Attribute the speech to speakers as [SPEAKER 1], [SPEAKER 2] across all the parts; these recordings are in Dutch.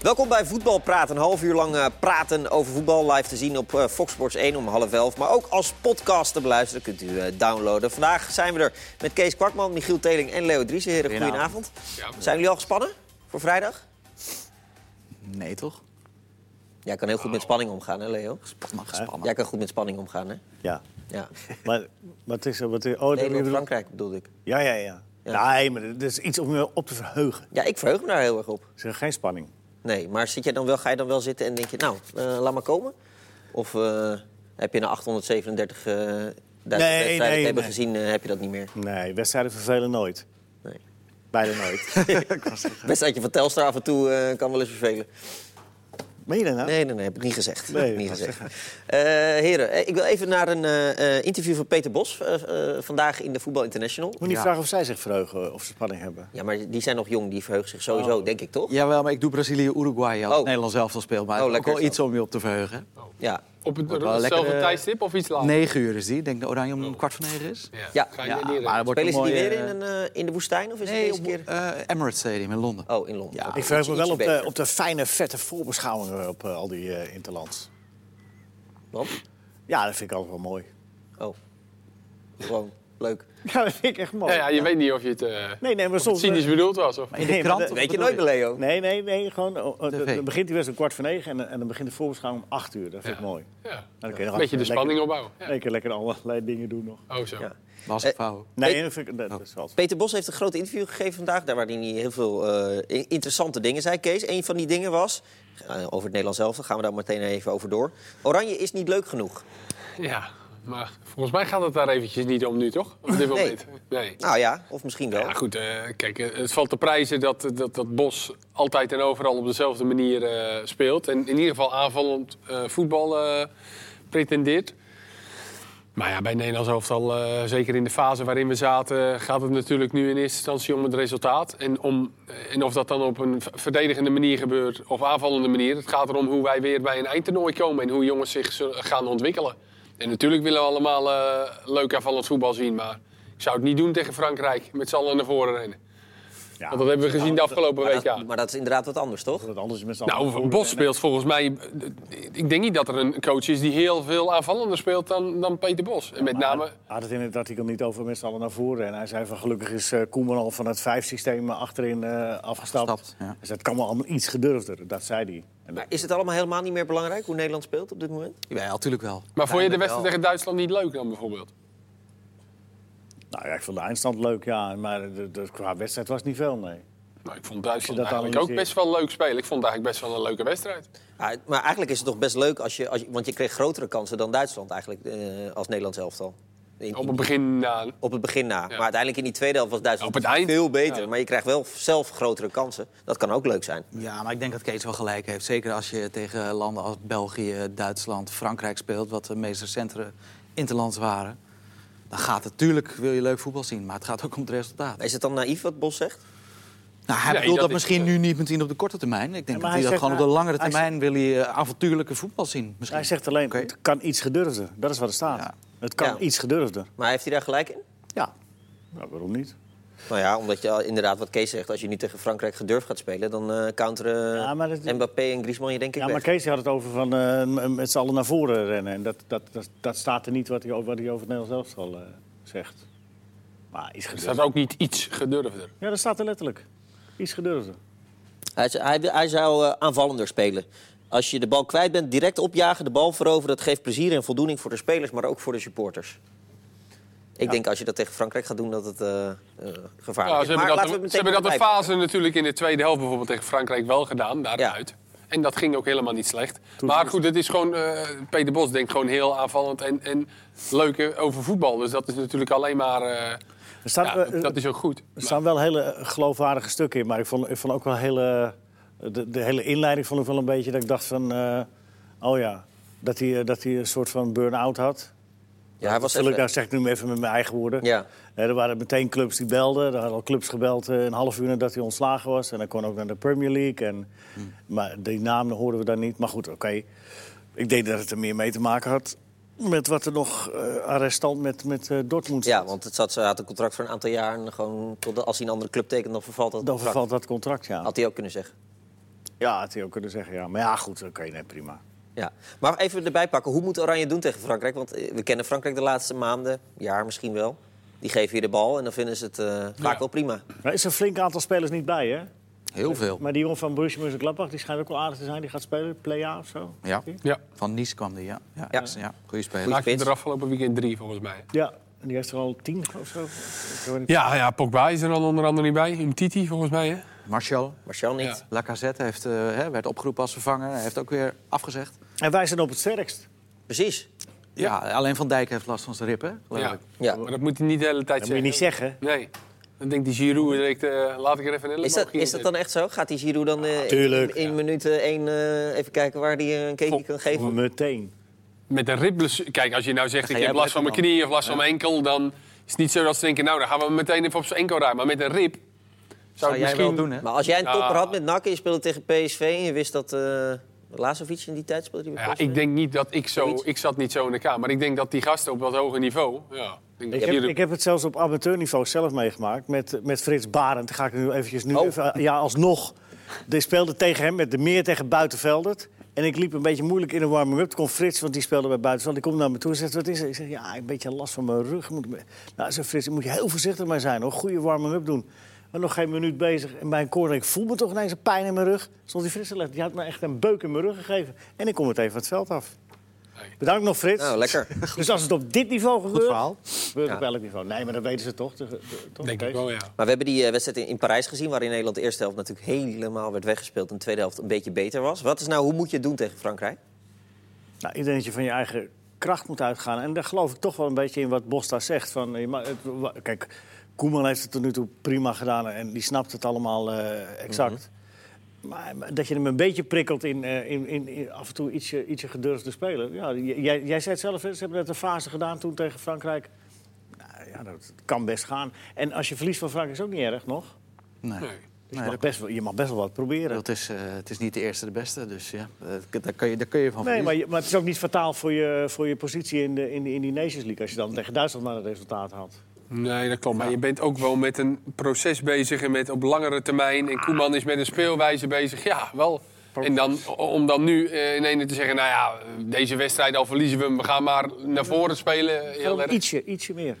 [SPEAKER 1] Welkom bij Voetbal Praten. Een half uur lang eh, praten over voetbal. Live te zien op eh, Fox Sports 1 om half elf. Maar ook als podcast te beluisteren. Kunt u eh, downloaden. Vandaag zijn we er met Kees Kwakman, Michiel Teling en Leo Driessen. Heren, goedenavond.
[SPEAKER 2] Goedenavond.
[SPEAKER 1] Zijn jullie al gespannen voor vrijdag?
[SPEAKER 2] Nee, toch?
[SPEAKER 1] Jij kan heel goed met spanning omgaan, hè Leo?
[SPEAKER 2] Nou. Gespannen, gespannen.
[SPEAKER 1] Jij kan goed met spanning omgaan, hè?
[SPEAKER 3] Ja.
[SPEAKER 1] Ja.
[SPEAKER 3] Maar wat is er? Wat is, oh, dat bedoel-
[SPEAKER 1] Nederland-Frankrijk bedoelde ik.
[SPEAKER 3] Ja, ja, ja. Nee, maar dat is iets om je op te verheugen.
[SPEAKER 1] Ja, ik verheug me daar heel erg op.
[SPEAKER 3] Er is geen spanning.
[SPEAKER 1] Nee, maar zit jij dan wel, ga je dan wel zitten en denk je, nou, eh, laat maar komen? Of eh, heb je na 837 eh
[SPEAKER 3] Nee,
[SPEAKER 1] wedstrijden
[SPEAKER 3] nee,
[SPEAKER 1] hebben
[SPEAKER 3] nee.
[SPEAKER 1] gezien, eh, heb je dat niet meer?
[SPEAKER 3] Nee, wedstrijden vervelen nooit.
[SPEAKER 1] Nee.
[SPEAKER 3] Bijna nooit.
[SPEAKER 1] Wedstrijdje van Telstar af en toe eh, kan wel eens vervelen.
[SPEAKER 3] Meen je dat nou?
[SPEAKER 1] Nee, nee, nee, heb ik niet gezegd.
[SPEAKER 3] Nee,
[SPEAKER 1] Heb ik niet
[SPEAKER 3] dat
[SPEAKER 1] gezegd. Eh, heren, eh, ik wil even naar een eh, eh, interview van Peter Bos eh, eh, vandaag in de Voetbal International.
[SPEAKER 3] Moet niet
[SPEAKER 2] Ja. Ah,
[SPEAKER 3] vragen of zij zich verheugen of ze spanning hebben.
[SPEAKER 1] Ja, maar die zijn nog jong, die verheugen zich sowieso, denk ik toch?
[SPEAKER 2] Jawel, maar ik doe Brazilië-Uruguay als
[SPEAKER 1] Oh.
[SPEAKER 2] het Nederland zelf al speelt. Maar
[SPEAKER 1] Oh,
[SPEAKER 2] het is ook
[SPEAKER 1] lekker
[SPEAKER 2] wel
[SPEAKER 1] zo.
[SPEAKER 2] iets om je op te verheugen.
[SPEAKER 1] Ja.
[SPEAKER 4] Op het-
[SPEAKER 2] Wordt wel
[SPEAKER 4] hetzelfde
[SPEAKER 2] lekker, eh,
[SPEAKER 4] tijdstip of iets later?
[SPEAKER 2] Negen uur is die. Ik denk dat Oranje om kwart voor negen is.
[SPEAKER 1] Ja.
[SPEAKER 4] Ga je
[SPEAKER 2] Ja,
[SPEAKER 4] weer leren.
[SPEAKER 2] maar dat wordt
[SPEAKER 1] eh, Spelen
[SPEAKER 2] een
[SPEAKER 1] ze die
[SPEAKER 2] mooie...
[SPEAKER 1] weer in, een, eh, in de woestijn of is
[SPEAKER 2] Nee,
[SPEAKER 1] het deze
[SPEAKER 2] op,
[SPEAKER 1] keer?
[SPEAKER 2] eh, Emirates Stadium in Londen.
[SPEAKER 1] Oh, in Londen.
[SPEAKER 2] Ja,
[SPEAKER 1] Oké,
[SPEAKER 3] Ik verheug me
[SPEAKER 1] iets-
[SPEAKER 3] wel op eh,
[SPEAKER 1] iets
[SPEAKER 3] de,
[SPEAKER 1] beter.
[SPEAKER 3] op de fijne, vette voorbeschouwingen op eh, al die eh, interlands.
[SPEAKER 1] Want?
[SPEAKER 3] Ja, dat vind ik altijd wel mooi.
[SPEAKER 1] Oh. Gewoon leuk.
[SPEAKER 3] Ja, dat vind ik echt mooi.
[SPEAKER 4] Ja, ja, je weet niet of je het, eh
[SPEAKER 3] Nee, nee, maar
[SPEAKER 4] of het
[SPEAKER 3] soms... eh,
[SPEAKER 4] cynisch bedoeld was. Of...
[SPEAKER 2] In de
[SPEAKER 3] Nee, maar
[SPEAKER 2] krant?
[SPEAKER 3] dat
[SPEAKER 2] of
[SPEAKER 1] Weet
[SPEAKER 2] wat
[SPEAKER 1] je
[SPEAKER 2] bedoel
[SPEAKER 1] nooit meer, Leo.
[SPEAKER 3] Nee, nee, nee. Gewoon, oh, oh,
[SPEAKER 2] TV.
[SPEAKER 3] dan begint die wedstrijd om kwart voor negen en, en dan begint de voorbeschouwing om acht uur. Dat vind ik
[SPEAKER 4] Ja.
[SPEAKER 3] mooi.
[SPEAKER 4] Ja.
[SPEAKER 3] Dan kun je nog
[SPEAKER 4] Een beetje de
[SPEAKER 3] lekker-
[SPEAKER 4] spanning opbouwen. Ja.
[SPEAKER 3] Lekker, lekker allerlei dingen doen nog.
[SPEAKER 4] Oh, zo.
[SPEAKER 1] Ja.
[SPEAKER 2] Was
[SPEAKER 1] Eh,
[SPEAKER 2] een fout.
[SPEAKER 3] Nee, dat, vind ik,
[SPEAKER 4] Oh.
[SPEAKER 3] dat is wel...
[SPEAKER 1] Peter Bos heeft een groot interview gegeven vandaag. Daar waar hij niet heel veel eh, i- interessante dingen zei, Kees. Een van die dingen was... eh, over het Nederlands zelf, daar gaan we daar meteen even over door. Oranje is niet leuk genoeg.
[SPEAKER 4] Ja, maar volgens mij gaat het daar eventjes niet om nu, toch? Op dit moment. Nee.
[SPEAKER 1] Nou ja, of misschien wel.
[SPEAKER 4] Ja, goed. eh, kijk, eh, het valt te prijzen dat, eh, dat, dat Bos altijd en overal op dezelfde manier eh, speelt. En in ieder geval aanvallend eh, voetbal eh, pretendeert. Maar ja, bij het Nederlands elftal, eh zeker in de fase waarin we zaten... gaat het natuurlijk nu in eerste instantie om het resultaat. En, om, eh, en of dat dan op een v- verdedigende manier gebeurt of aanvallende manier... het gaat erom hoe wij weer bij een eindtoernooi komen... en hoe jongens zich zullen- gaan ontwikkelen. En natuurlijk willen we allemaal eh, leuk aanvallend voetbal zien... maar ik zou het niet doen tegen Frankrijk, met z'n allen naar voren rennen.
[SPEAKER 3] Ja,
[SPEAKER 4] Want dat hebben we gezien de afgelopen
[SPEAKER 1] maar,
[SPEAKER 4] week, ja.
[SPEAKER 1] dat, maar dat is inderdaad wat anders, toch?
[SPEAKER 3] Wat anders is met z'n allen
[SPEAKER 4] Nou,
[SPEAKER 3] voor-
[SPEAKER 4] Bos speelt volgens mij... eh, Ik denk niet dat er een coach is die heel veel aanvallender speelt dan, dan Peter Bos. En met name...
[SPEAKER 3] Hij had het in het artikel niet over met z'n allen naar voren. En hij zei van gelukkig is eh, Koeman al van het vijfsysteem eh, achterin eh, afgestapt.
[SPEAKER 2] Afgestapt, ja.
[SPEAKER 3] Dus dat kan wel allemaal iets gedurfder, dat zei hij. En
[SPEAKER 1] Maar
[SPEAKER 3] dat-
[SPEAKER 1] is het allemaal helemaal niet meer belangrijk hoe Nederland speelt op dit moment?
[SPEAKER 2] Ja, natuurlijk wel.
[SPEAKER 4] Maar vond je
[SPEAKER 2] Uiteindelijk
[SPEAKER 4] de wedstrijd
[SPEAKER 2] wel.
[SPEAKER 4] tegen Duitsland niet leuk dan bijvoorbeeld?
[SPEAKER 3] Nou ja, ik vond de eindstand leuk, ja. Maar de, de, qua wedstrijd was niet veel, nee.
[SPEAKER 4] Nou, ik vond Duitsland
[SPEAKER 3] dat
[SPEAKER 4] eigenlijk ook
[SPEAKER 3] analyseert.
[SPEAKER 4] best wel leuk spelen. Ik vond het eigenlijk best wel een leuke wedstrijd.
[SPEAKER 1] Ah, maar eigenlijk is het toch best leuk, als je, als je, want je kreeg grotere kansen dan Duitsland eigenlijk eh, als Nederlands elftal. In-
[SPEAKER 4] Op het begin nou, na...
[SPEAKER 1] Op het begin na. Maar uiteindelijk in die tweede helft was Duitsland
[SPEAKER 4] Op het eind.
[SPEAKER 1] veel beter.
[SPEAKER 4] Ja.
[SPEAKER 1] Maar je krijgt wel zelf grotere kansen. Dat kan ook leuk zijn.
[SPEAKER 2] Ja, maar ik denk dat Kees wel gelijk heeft. Zeker als je tegen landen als België, Duitsland, Frankrijk speelt... wat de meest recentere interlands waren. Dan gaat het, natuurlijk wil je leuk voetbal zien, maar het gaat ook om het resultaat.
[SPEAKER 1] Maar Is het dan naïef wat Bos zegt?
[SPEAKER 2] Nou, hij
[SPEAKER 4] Nee,
[SPEAKER 2] bedoelt
[SPEAKER 4] dat
[SPEAKER 2] dat
[SPEAKER 4] is-
[SPEAKER 2] misschien nu niet meteen op de korte termijn. Ik denk
[SPEAKER 3] maar
[SPEAKER 2] dat hij
[SPEAKER 3] hij
[SPEAKER 2] dat
[SPEAKER 3] zegt
[SPEAKER 2] gewoon op de
[SPEAKER 3] nou-
[SPEAKER 2] langere
[SPEAKER 3] hij
[SPEAKER 2] termijn wil hij eh, avontuurlijke voetbal zien. Misschien.
[SPEAKER 3] Hij zegt alleen,
[SPEAKER 2] Oké.
[SPEAKER 3] het kan iets gedurfder. Dat is wat er staat.
[SPEAKER 2] Ja.
[SPEAKER 3] Het kan
[SPEAKER 1] Ja.
[SPEAKER 3] iets gedurfder.
[SPEAKER 1] Maar heeft hij daar gelijk in?
[SPEAKER 3] Ja. Nou, waarom niet?
[SPEAKER 1] Nou ja, omdat je al- inderdaad wat Kees zegt. Als je nu tegen Frankrijk gedurfd gaat spelen... dan eh, counteren
[SPEAKER 3] Ja, maar dat-
[SPEAKER 1] Mbappé en Griezmann je denk ik
[SPEAKER 3] Ja,
[SPEAKER 1] weg.
[SPEAKER 3] maar Kees had het over van eh, m- met z'n allen naar voren rennen. En dat, dat, dat, dat staat er niet wat hij, o- wat hij over het Nederlands elftal eh, zegt. Maar iets
[SPEAKER 4] Is
[SPEAKER 3] gedurfder.
[SPEAKER 4] dat ook niet iets Nou, gedurfder?
[SPEAKER 3] Ja, dat staat er letterlijk. Iets gedurfder.
[SPEAKER 1] Hij, z- hij, hij zou eh, aanvallender spelen. Als je de bal kwijt bent, direct opjagen, de bal veroveren... dat geeft plezier en voldoening voor de spelers, maar ook voor de supporters. Ik denk als je dat tegen Frankrijk gaat doen, dat het eh, eh, gevaarlijk
[SPEAKER 4] Ja,
[SPEAKER 1] is.
[SPEAKER 4] ze hebben
[SPEAKER 1] laten
[SPEAKER 4] dat,
[SPEAKER 1] we het
[SPEAKER 4] ze
[SPEAKER 1] meteen
[SPEAKER 4] hebben dat de
[SPEAKER 1] erbij
[SPEAKER 4] fase natuurlijk in de tweede helft bijvoorbeeld tegen Frankrijk wel gedaan, daaruit. En dat ging ook helemaal niet slecht. maar goed, het is gewoon, eh, Peter Bos denkt gewoon heel aanvallend en, en leuk eh, over voetbal. Dus dat is natuurlijk alleen maar, eh,
[SPEAKER 3] Er staan,
[SPEAKER 4] ja,
[SPEAKER 3] eh,
[SPEAKER 4] dat, dat is ook goed.
[SPEAKER 3] er staan wel hele eh, geloofwaardige stukken in, maar ik vond, ik vond ook wel hele. eh, De, de hele inleiding vond ik wel een beetje dat ik dacht van. eh, oh ja, dat hij, eh, dat hij een soort van burn-out had.
[SPEAKER 1] pakken. Ja, hij was
[SPEAKER 3] Dat, wil ik,
[SPEAKER 1] even-
[SPEAKER 3] nou, zeg ik nu even met mijn eigen woorden.
[SPEAKER 1] Ja.
[SPEAKER 3] Eh, er waren meteen clubs die belden. Er hadden al clubs gebeld eh, een half uur nadat hij ontslagen was. En dan kon ook naar de Premier League. En,
[SPEAKER 1] Hmm.
[SPEAKER 3] Maar die namen hoorden we dan niet. Maar goed, oké. Ik denk dat het er meer mee te maken had met wat er nog eh arrestant met, met eh, Dortmund
[SPEAKER 1] Ja,
[SPEAKER 3] zat.
[SPEAKER 1] want het zat, ze had een contract voor een aantal jaar. En gewoon tot de- als hij een andere club tekent, dan vervalt dat
[SPEAKER 3] Dan
[SPEAKER 1] contract.
[SPEAKER 3] vervalt dat contract, ja.
[SPEAKER 1] Had hij ook kunnen zeggen.
[SPEAKER 3] Ja, had hij ook kunnen zeggen. Ja. Maar ja, goed, oké, nee, prima.
[SPEAKER 1] Ja. Maar even erbij pakken, hoe moet Oranje doen tegen Frankrijk? Want eh, we kennen Frankrijk de laatste maanden, jaar misschien wel. Die geven je de bal en dan vinden ze het eh, vaak wel prima.
[SPEAKER 3] Er is een flink aantal spelers niet bij, hè?
[SPEAKER 2] Heel veel.
[SPEAKER 3] Maar die jongen van Borussia Mönchengladbach, die schijnt ook wel aardig te zijn. Die gaat spelen, playa of zo.
[SPEAKER 2] Ja.
[SPEAKER 4] Ja.
[SPEAKER 2] Van Nice kwam die, ja. Ja,
[SPEAKER 1] Ja.
[SPEAKER 2] ja. ja. goede speler.
[SPEAKER 1] Goeie-
[SPEAKER 4] Maakte
[SPEAKER 1] spits.
[SPEAKER 4] er afgelopen weekend drie, volgens mij.
[SPEAKER 3] Ja, en die heeft er al tien of zo. Ik weet niet.
[SPEAKER 4] Ja, ja, Pogba is er dan onder andere niet bij. Umtiti, volgens mij, hè?
[SPEAKER 2] Martial,
[SPEAKER 1] Marcel niet.
[SPEAKER 4] Ja.
[SPEAKER 2] Lacazette heeft, eh, hè, werd opgeroepen als vervanger. Hij heeft ook weer afgezegd.
[SPEAKER 3] En wij zijn op het sterkst.
[SPEAKER 1] Precies.
[SPEAKER 2] Ja. alleen Van Dijk heeft last van zijn rippen, geloof
[SPEAKER 4] Ja.
[SPEAKER 2] ik.
[SPEAKER 1] Ja.
[SPEAKER 4] Maar dat moet hij niet de hele tijd
[SPEAKER 3] Dat moet je
[SPEAKER 4] zeggen.
[SPEAKER 3] niet zeggen.
[SPEAKER 4] Nee. Dan denkt die Giroud direct, eh, laat ik er even een Ah,
[SPEAKER 1] Is dat, is dat dan echt zo? Gaat die Giroud dan eh,
[SPEAKER 3] tuurlijk.
[SPEAKER 1] in, in minuut 1 even kijken waar hij een keekje kan geven?
[SPEAKER 3] Meteen.
[SPEAKER 4] Met een ribblessure. Kijk, als je nou zegt,
[SPEAKER 2] Dan
[SPEAKER 4] ik
[SPEAKER 2] ga
[SPEAKER 4] heb
[SPEAKER 2] jij
[SPEAKER 4] last van mijn
[SPEAKER 2] blijven
[SPEAKER 4] knie of last van mijn enkel... dan is het niet zo dat ze denken, nou, dan gaan we hem meteen even op zijn enkel raken. Maar met een rib zou,
[SPEAKER 2] Zou
[SPEAKER 4] het
[SPEAKER 2] jij
[SPEAKER 4] misschien...
[SPEAKER 2] wel doen, hè?
[SPEAKER 1] Maar als jij een
[SPEAKER 4] Ja.
[SPEAKER 1] topper had met NAC en je speelde tegen PSV... en je wist dat eh Lazovic in die tijd speelde... Die
[SPEAKER 4] Ja, ik denk niet dat ik zo... Ik zat niet zo in de kamer. Maar ik denk dat die gasten op dat hoge niveau... Ja, ik denk dat
[SPEAKER 3] Ik heb,
[SPEAKER 4] Giroud-
[SPEAKER 3] ik heb het zelfs op amateurniveau zelf meegemaakt met, met Frits Barend. Ga ik nu eventjes nu even, ja, alsnog. Die speelde tegen hem met de meer tegen Buitenveldert. En ik liep een beetje moeilijk in de warming-up. Toen kwam Frits, want die speelde bij Buitenveldert. Die komt naar me toe en zegt, wat is er? Ik zeg, ja, een beetje last van mijn rug. Moet me- Nou, zei Frits, daar moet je heel voorzichtig mee zijn. Hoor. Goede warming-up doen. Maar nog geen minuut bezig. En bij een corner, ik voel me toch ineens een pijn in mijn rug. Stond die Frits te leggen. Die had me echt een beuk in mijn rug gegeven. En ik kom meteen van het veld af. Bedankt nog, Frits.
[SPEAKER 1] Nou, lekker.
[SPEAKER 3] Dus als het op dit niveau gebeurt,
[SPEAKER 2] verhaal.
[SPEAKER 3] gebeurt het op elk niveau. Nee, maar dat weten ze toch? de- de- toch,
[SPEAKER 4] Denk
[SPEAKER 3] Kees?
[SPEAKER 4] ik wel, ja.
[SPEAKER 1] Maar we hebben die eh, wedstrijd in- in Parijs gezien... waarin Nederland de eerste helft natuurlijk helemaal werd weggespeeld... en de tweede helft een beetje beter was. Wat is nou, hoe moet je het doen tegen Frankrijk?
[SPEAKER 3] Nou, ik denk dat je van je eigen kracht moet uitgaan. En daar geloof ik toch wel een beetje in wat Bosta zegt. Van, je ma- het- wa- kijk, Koeman heeft het tot nu toe prima gedaan en die snapt het allemaal eh, exact.
[SPEAKER 4] Mhm.
[SPEAKER 3] Maar maar dat je hem een beetje prikkelt in, eh, in, in, in af en toe ietsje, ietsje gedurfde spelen. Ja, j- jij, jij zei het zelf, hè, ze hebben dat een fase gedaan toen tegen Frankrijk. Nou, ja, dat kan best gaan. En als je verliest van Frankrijk is ook niet erg nog.
[SPEAKER 2] Nee.
[SPEAKER 4] Nee.
[SPEAKER 3] Dus je, mag best wel, je mag best wel wat proberen.
[SPEAKER 2] Dat is, eh, het is niet de eerste de beste, dus ja, dat- daar, kun je, daar kun je van
[SPEAKER 3] Nee,
[SPEAKER 2] verliezen.
[SPEAKER 3] maar, je- maar het is ook niet fataal voor je, voor je positie in de, in, de, in die Nations League... als je dan tegen Duitsland maar een resultaat haalt.
[SPEAKER 4] Nee, dat klopt. Maar je bent ook wel met een proces bezig en met op langere termijn. En Koeman is met een speelwijze bezig. Ja, wel. En dan, o- om dan nu eh, in ene te zeggen, nou ja, deze wedstrijd al verliezen we hem, we gaan maar naar voren spelen. Heel
[SPEAKER 3] Gewoon
[SPEAKER 4] erg.
[SPEAKER 3] ietsje, ietsje meer.